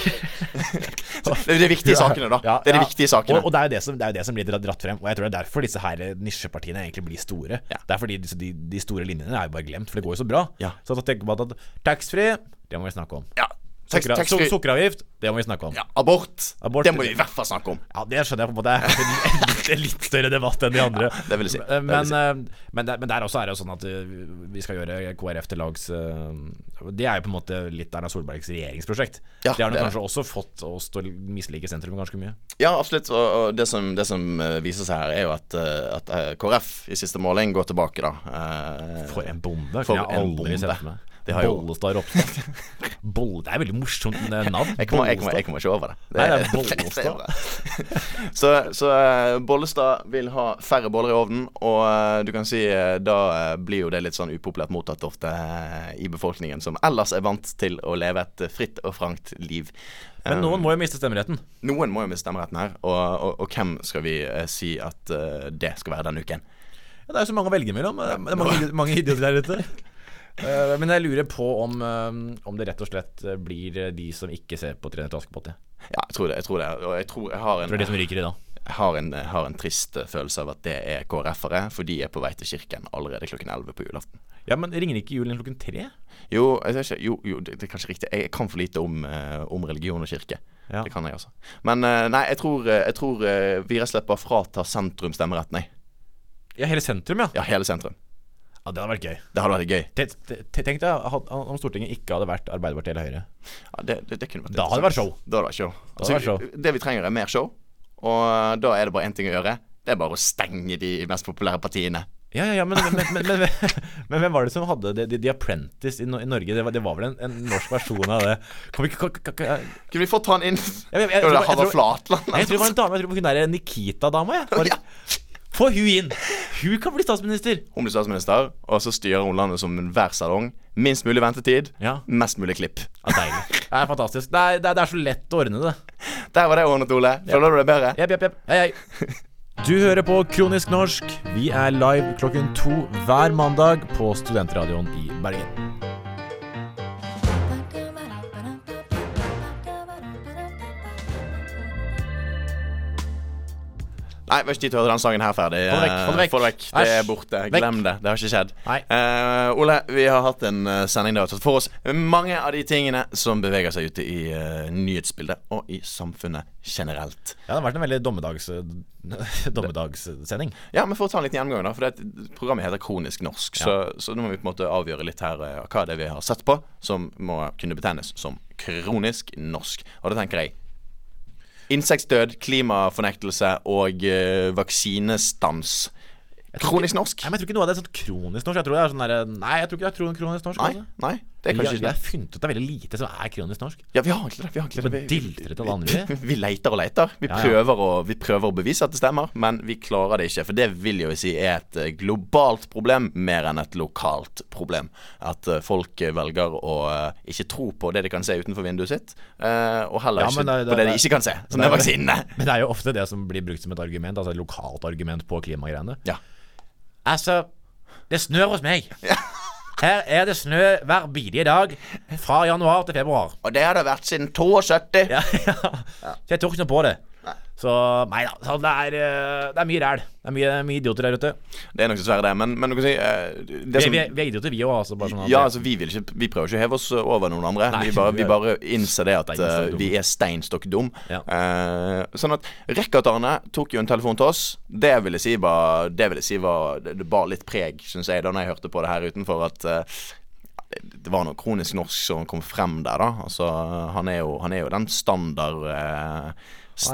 [SPEAKER 2] er de viktige sakene, da.
[SPEAKER 1] Ja,
[SPEAKER 2] det er de
[SPEAKER 1] ja.
[SPEAKER 2] viktige sakene.
[SPEAKER 1] Og, og det er jo det som, det er jo det som blir dra- dratt frem. Og jeg tror det er derfor disse her eh, nisjepartiene egentlig blir store.
[SPEAKER 2] Ja.
[SPEAKER 1] Det er fordi disse- de, de store linjene er jo bare glemt, for det går jo så bra.
[SPEAKER 2] Ja.
[SPEAKER 1] Så at å tenke på at, at taxfree, det må vi snakke om.
[SPEAKER 2] ja. Tax-
[SPEAKER 1] Sukkera-
[SPEAKER 2] taxfree-
[SPEAKER 1] suk- Sukkeravgift, det må vi snakke om.
[SPEAKER 2] ja. Abort.
[SPEAKER 1] Abort.
[SPEAKER 2] Det må vi i hvert fall snakke om.
[SPEAKER 1] Ja, det skjønner jeg på en måte. Det er en litt- en litt større debatt enn de andre.
[SPEAKER 2] det vil jeg si. Det vil jeg
[SPEAKER 1] Men,
[SPEAKER 2] si.
[SPEAKER 1] eh, men, der, men der også er det jo sånn at eh, vi skal gjøre KrF til lags eh, Det er jo på en måte litt Erna Solbergs regjeringsprosjekt. det
[SPEAKER 2] Ja,
[SPEAKER 1] har nok
[SPEAKER 2] det er
[SPEAKER 1] kanskje også fått oss til å mislike sentrum ganske mye.
[SPEAKER 2] Ja, absolutt. Og, og det, som, det som eh, viser seg her, er jo at, eh, at eh, KrF i siste måling går tilbake, da. Eh,
[SPEAKER 1] For en bonde.
[SPEAKER 2] For
[SPEAKER 1] For jeg
[SPEAKER 2] en
[SPEAKER 1] aldri
[SPEAKER 2] bonde.
[SPEAKER 1] sett for meg.
[SPEAKER 2] Det har jo-
[SPEAKER 1] Bollestad Ropstad. Bolle, det er veldig morsomt eh, navn.
[SPEAKER 2] jeg kommer, jeg, kommer, jeg kommer ikke over det.
[SPEAKER 1] Nei, det er
[SPEAKER 2] det
[SPEAKER 1] Bollestad.
[SPEAKER 2] bra. så så eh, Bollestad vil ha færre boller i ovnen, og eh, du kan si eh, da eh, blir jo det litt sånn upopulært mottatt ofte eh, i befolkningen, som ellers er vant til å leve et eh, fritt og frankt liv. Eh,
[SPEAKER 1] Men noen må jo miste stemmeretten.
[SPEAKER 2] Noen må jo miste stemmeretten her, og, og, og hvem skal vi eh, si at eh, det skal være denne uken?
[SPEAKER 1] Ja, det er jo så mange å velge mellom. Det er mange, idi- mange idioter der ute. Eh, men jeg lurer på om, eh, om det rett og slett eh, blir eh, de som ikke ser på 'Trener til Askepott'. jeg.
[SPEAKER 2] Ja, jeg tror det. Jeg tror det. Og jeg tror jeg har en
[SPEAKER 1] Det er sånn- de som ryker i dag.
[SPEAKER 2] Jeg har en, jeg har en trist eh, følelse av at det er KrF-ere, for de er på vei til kirken allerede klokken 11 på julaften.
[SPEAKER 1] Ja, men ringer ikke julen klokken tre?
[SPEAKER 2] Jo, jeg vet ikke, jo, jo det, det er kanskje riktig. Jeg kan for lite om, eh, om religion og kirke.
[SPEAKER 1] Ja.
[SPEAKER 2] Det kan jeg, altså. Men eh, nei, jeg tror, eh, jeg tror eh, vi rett og slett bare fratar sentrum stemmeretten, jeg.
[SPEAKER 1] Ja, hele sentrum, ja.
[SPEAKER 2] Ja, hele sentrum.
[SPEAKER 1] Ja, Det hadde vært gøy.
[SPEAKER 2] Det hadde vært gøy.
[SPEAKER 1] Te- te- te- Tenk deg had- om Stortinget ikke hadde vært Arbeiderpartiet eller Høyre.
[SPEAKER 2] Ja, det, det, det kunne vært
[SPEAKER 1] Da hadde det vært show.
[SPEAKER 2] Da hadde det vært show.
[SPEAKER 1] hadde det vært show.
[SPEAKER 2] vi- det vi trenger, er mer show, og eh, da er det bare én ting å gjøre. Det er bare å stenge de mest populære partiene.
[SPEAKER 1] Ja, ja, ja, men, men, men, men, men hvem var det som hadde det? The, The Apprentice i, no i Norge? Det var, det var vel en, en norsk versjon av det? Kan vi ikke kan- kan- kan-
[SPEAKER 2] Kunne vi fått han inn?
[SPEAKER 1] Ja, men jeg- jeg tror-
[SPEAKER 2] Jo, det er
[SPEAKER 1] jeg
[SPEAKER 2] Halvard
[SPEAKER 1] tror-
[SPEAKER 2] Flatland. altså,
[SPEAKER 1] Nei, Jeg tror det var en dame. Jeg tror på hun der eh, Nikita-dama. jeg. Bare-
[SPEAKER 2] Ja.
[SPEAKER 1] Få hun inn! Hun kan bli statsminister.
[SPEAKER 2] Hun blir statsminister, og så styrer hun landet som enhver salong. Minst mulig ventetid,
[SPEAKER 1] Ja.
[SPEAKER 2] mest mulig klipp.
[SPEAKER 1] Ja, deilig. Det er fantastisk. Det er, det, er, det er så lett å ordne det.
[SPEAKER 2] Der var det ordnet, Ole. Føler du det bedre?
[SPEAKER 1] Jepp, jepp, jepp. Hei, hei. Du hører på Kronisk norsk. Vi er live klokken to hver mandag på Studentradioen i Bergen.
[SPEAKER 2] Nei, vi har ikke tid til å høre den sangen her ferdig.
[SPEAKER 1] Få det vekk, få det vekk.
[SPEAKER 2] Få det, vekk. det er
[SPEAKER 1] Æsj.
[SPEAKER 2] borte.
[SPEAKER 1] Vekk.
[SPEAKER 2] Glem det. Det har ikke skjedd.
[SPEAKER 1] Nei.
[SPEAKER 2] Eh, Ole, vi har hatt en eh, sending der vi har tatt for oss mange av de tingene som beveger seg ute i eh, nyhetsbildet og i samfunnet generelt.
[SPEAKER 1] Ja, det har vært en veldig dommedags, eh, dommedagssending.
[SPEAKER 2] Ja, men For å ta en liten gjennomgang, da. For det, er- programmet heter Kronisk norsk. Så, så nå må vi på en måte avgjøre litt her eh, hva det er vi har sett på som må kunne betegnes som kronisk norsk. Og da tenker jeg Insektdød, klimafornektelse og eh, vaksinestans. Kronisk norsk?
[SPEAKER 1] Nei, men jeg tror ikke noe av det er sånn kronisk norsk. Jeg tror det er sånn der, Nei, jeg tror ikke det er kron- kronisk norsk.
[SPEAKER 2] Nei,
[SPEAKER 1] altså.
[SPEAKER 2] nei, det er
[SPEAKER 1] Vi har-
[SPEAKER 2] kanskje
[SPEAKER 1] vi
[SPEAKER 2] ikke
[SPEAKER 1] har
[SPEAKER 2] det.
[SPEAKER 1] funnet ut det er veldig lite som er kronisk norsk.
[SPEAKER 2] Ja, vi har egentlig det. Vi har egentlig
[SPEAKER 1] Men
[SPEAKER 2] det. Vi-
[SPEAKER 1] dilter til alle andre. vi.
[SPEAKER 2] Vi leiter og leiter. Vi
[SPEAKER 1] Ja, ja.
[SPEAKER 2] prøver, å, vi prøver å bevise at det stemmer, men vi klarer det ikke. For det vil jo si er et eh, globalt problem mer enn et lokalt problem. At eh, folk eh, velger å eh, ikke tro på det de kan se utenfor vinduet sitt, eh, og heller
[SPEAKER 1] Ja,
[SPEAKER 2] ikke
[SPEAKER 1] men det-
[SPEAKER 2] på
[SPEAKER 1] det-
[SPEAKER 2] det de ikke kan se, som
[SPEAKER 1] det-
[SPEAKER 2] er vaksinene.
[SPEAKER 1] Men det er jo ofte det som blir brukt som et argument, altså et lokalt argument på klimagreiene.
[SPEAKER 2] Ja.
[SPEAKER 1] Altså, det snør hos meg. Her er det snø hver bidige dag fra januar til februar.
[SPEAKER 2] Og det har det vært siden 72.
[SPEAKER 1] Ja, ja. Så jeg tok ikke noe på det. Så nei da. Så det, er, eh, det er mye ræl. Det er mye, mye idioter der ute.
[SPEAKER 2] Det er nok dessverre det, men, men du kan si eh, det
[SPEAKER 1] Vi,
[SPEAKER 2] som,
[SPEAKER 1] vi, er- vi er idioter, vi òg, altså. Bare sånn at
[SPEAKER 2] Ja, altså vi, vil ikke, vi prøver ikke å heve oss over noen andre.
[SPEAKER 1] Nei,
[SPEAKER 2] vi, bare,
[SPEAKER 1] vi
[SPEAKER 2] vi
[SPEAKER 1] er-
[SPEAKER 2] bare innser det at
[SPEAKER 1] Steinstokk
[SPEAKER 2] eh,
[SPEAKER 1] dum.
[SPEAKER 2] vi er steinstokk dum.
[SPEAKER 1] Ja.
[SPEAKER 2] Eh, sånn at Rekkert-Arne tok jo en telefon til oss. Det vil jeg si var Det vil jeg si var Det, det bar litt preg, syns jeg, da når jeg hørte på det her utenfor, at eh, det var noe kronisk norsk som kom frem der, da. Altså, han er jo, han er jo den standard eh,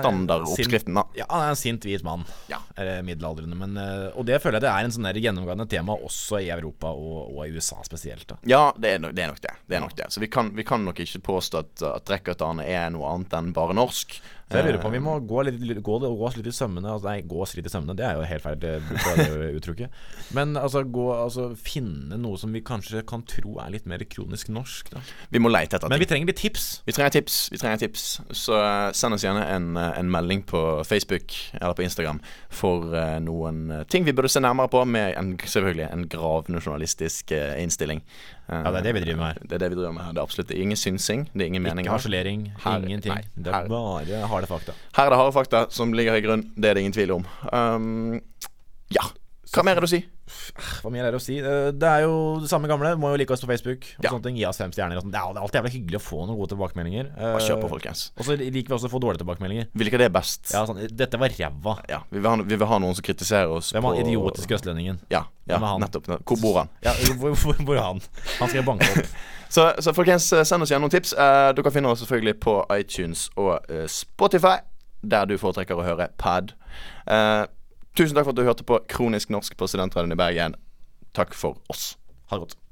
[SPEAKER 2] Standardoppskriften, da.
[SPEAKER 1] Ja, han er en sint hvit mann.
[SPEAKER 2] Ja.
[SPEAKER 1] Eller middelaldrende. Men, eh, og det føler jeg det er en sånn der gjennomgående tema også i Europa og, og i USA spesielt. da
[SPEAKER 2] Ja, det er, nok, det er nok det. det, er nok det. Så vi kan, vi kan nok ikke påstå at, at Rekkert-Arne er noe annet enn bare norsk. Eh,
[SPEAKER 1] Så jeg lurer på om vi må gå, litt, gå, gå oss litt i sømmene altså, Nei, gå oss litt i sømmene, det er jo helt feil det- bruk av det uttrykket. Men altså, gå, altså finne noe som vi kanskje kan tro er litt mer kronisk norsk. Da.
[SPEAKER 2] Eh, Vi må leite etter ting.
[SPEAKER 1] Men vi trenger litt tips.
[SPEAKER 2] Vi trenger tips, vi trenger tips. Så eh, send oss gjerne en, eh, en melding på Facebook eller på Instagram for eh, noen eh, ting vi burde se nærmere på, med en, selvfølgelig en gravende journalistisk eh, innstilling.
[SPEAKER 1] Ja, det er det vi driver med her.
[SPEAKER 2] Det er det vi driver med her. Det er absolutt ingen synsing, det er ingen mening.
[SPEAKER 1] Ikke
[SPEAKER 2] her.
[SPEAKER 1] harselering,
[SPEAKER 2] Her-
[SPEAKER 1] ingenting.
[SPEAKER 2] nei,
[SPEAKER 1] det
[SPEAKER 2] her-
[SPEAKER 1] er bare harde fakta.
[SPEAKER 2] Her er det harde fakta som ligger i grunn, det er det ingen tvil om. Um, ja. Hva mer er det å si?
[SPEAKER 1] Hva mer er det å si? Eh, Det er jo det samme gamle. Må jo like oss på Facebook. Og
[SPEAKER 2] Ja.
[SPEAKER 1] sånne ting Gi oss fem stjerner. Og sånt. det er alltid jævlig hyggelig å få noen gode tilbakemeldinger. Eh,
[SPEAKER 2] Bare kjør på, folkens.
[SPEAKER 1] Og så liker vi også å få dårlige tilbakemeldinger.
[SPEAKER 2] Hvilket er best?
[SPEAKER 1] Ja, sånn, Dette var ræva.
[SPEAKER 2] Ja, vi, vil ha, vi vil ha noen som kritiserer oss
[SPEAKER 1] Hvem var idiotiske østlendingen?
[SPEAKER 2] Ja, ja
[SPEAKER 1] Hvem er han?
[SPEAKER 2] nettopp. Hvor bor han?
[SPEAKER 1] Ja, hvor, hvor, hvor er han? Han skal jeg banke opp.
[SPEAKER 2] Så, så folkens, send oss gjerne noen tips. Eh, dere finner oss selvfølgelig på iTunes og eh, Spotify, der du foretrekker å høre pad. Eh, tusen takk for at du hørte på Kronisk norsk på Studentradioen i Bergen. Takk for oss.
[SPEAKER 1] Ha det godt.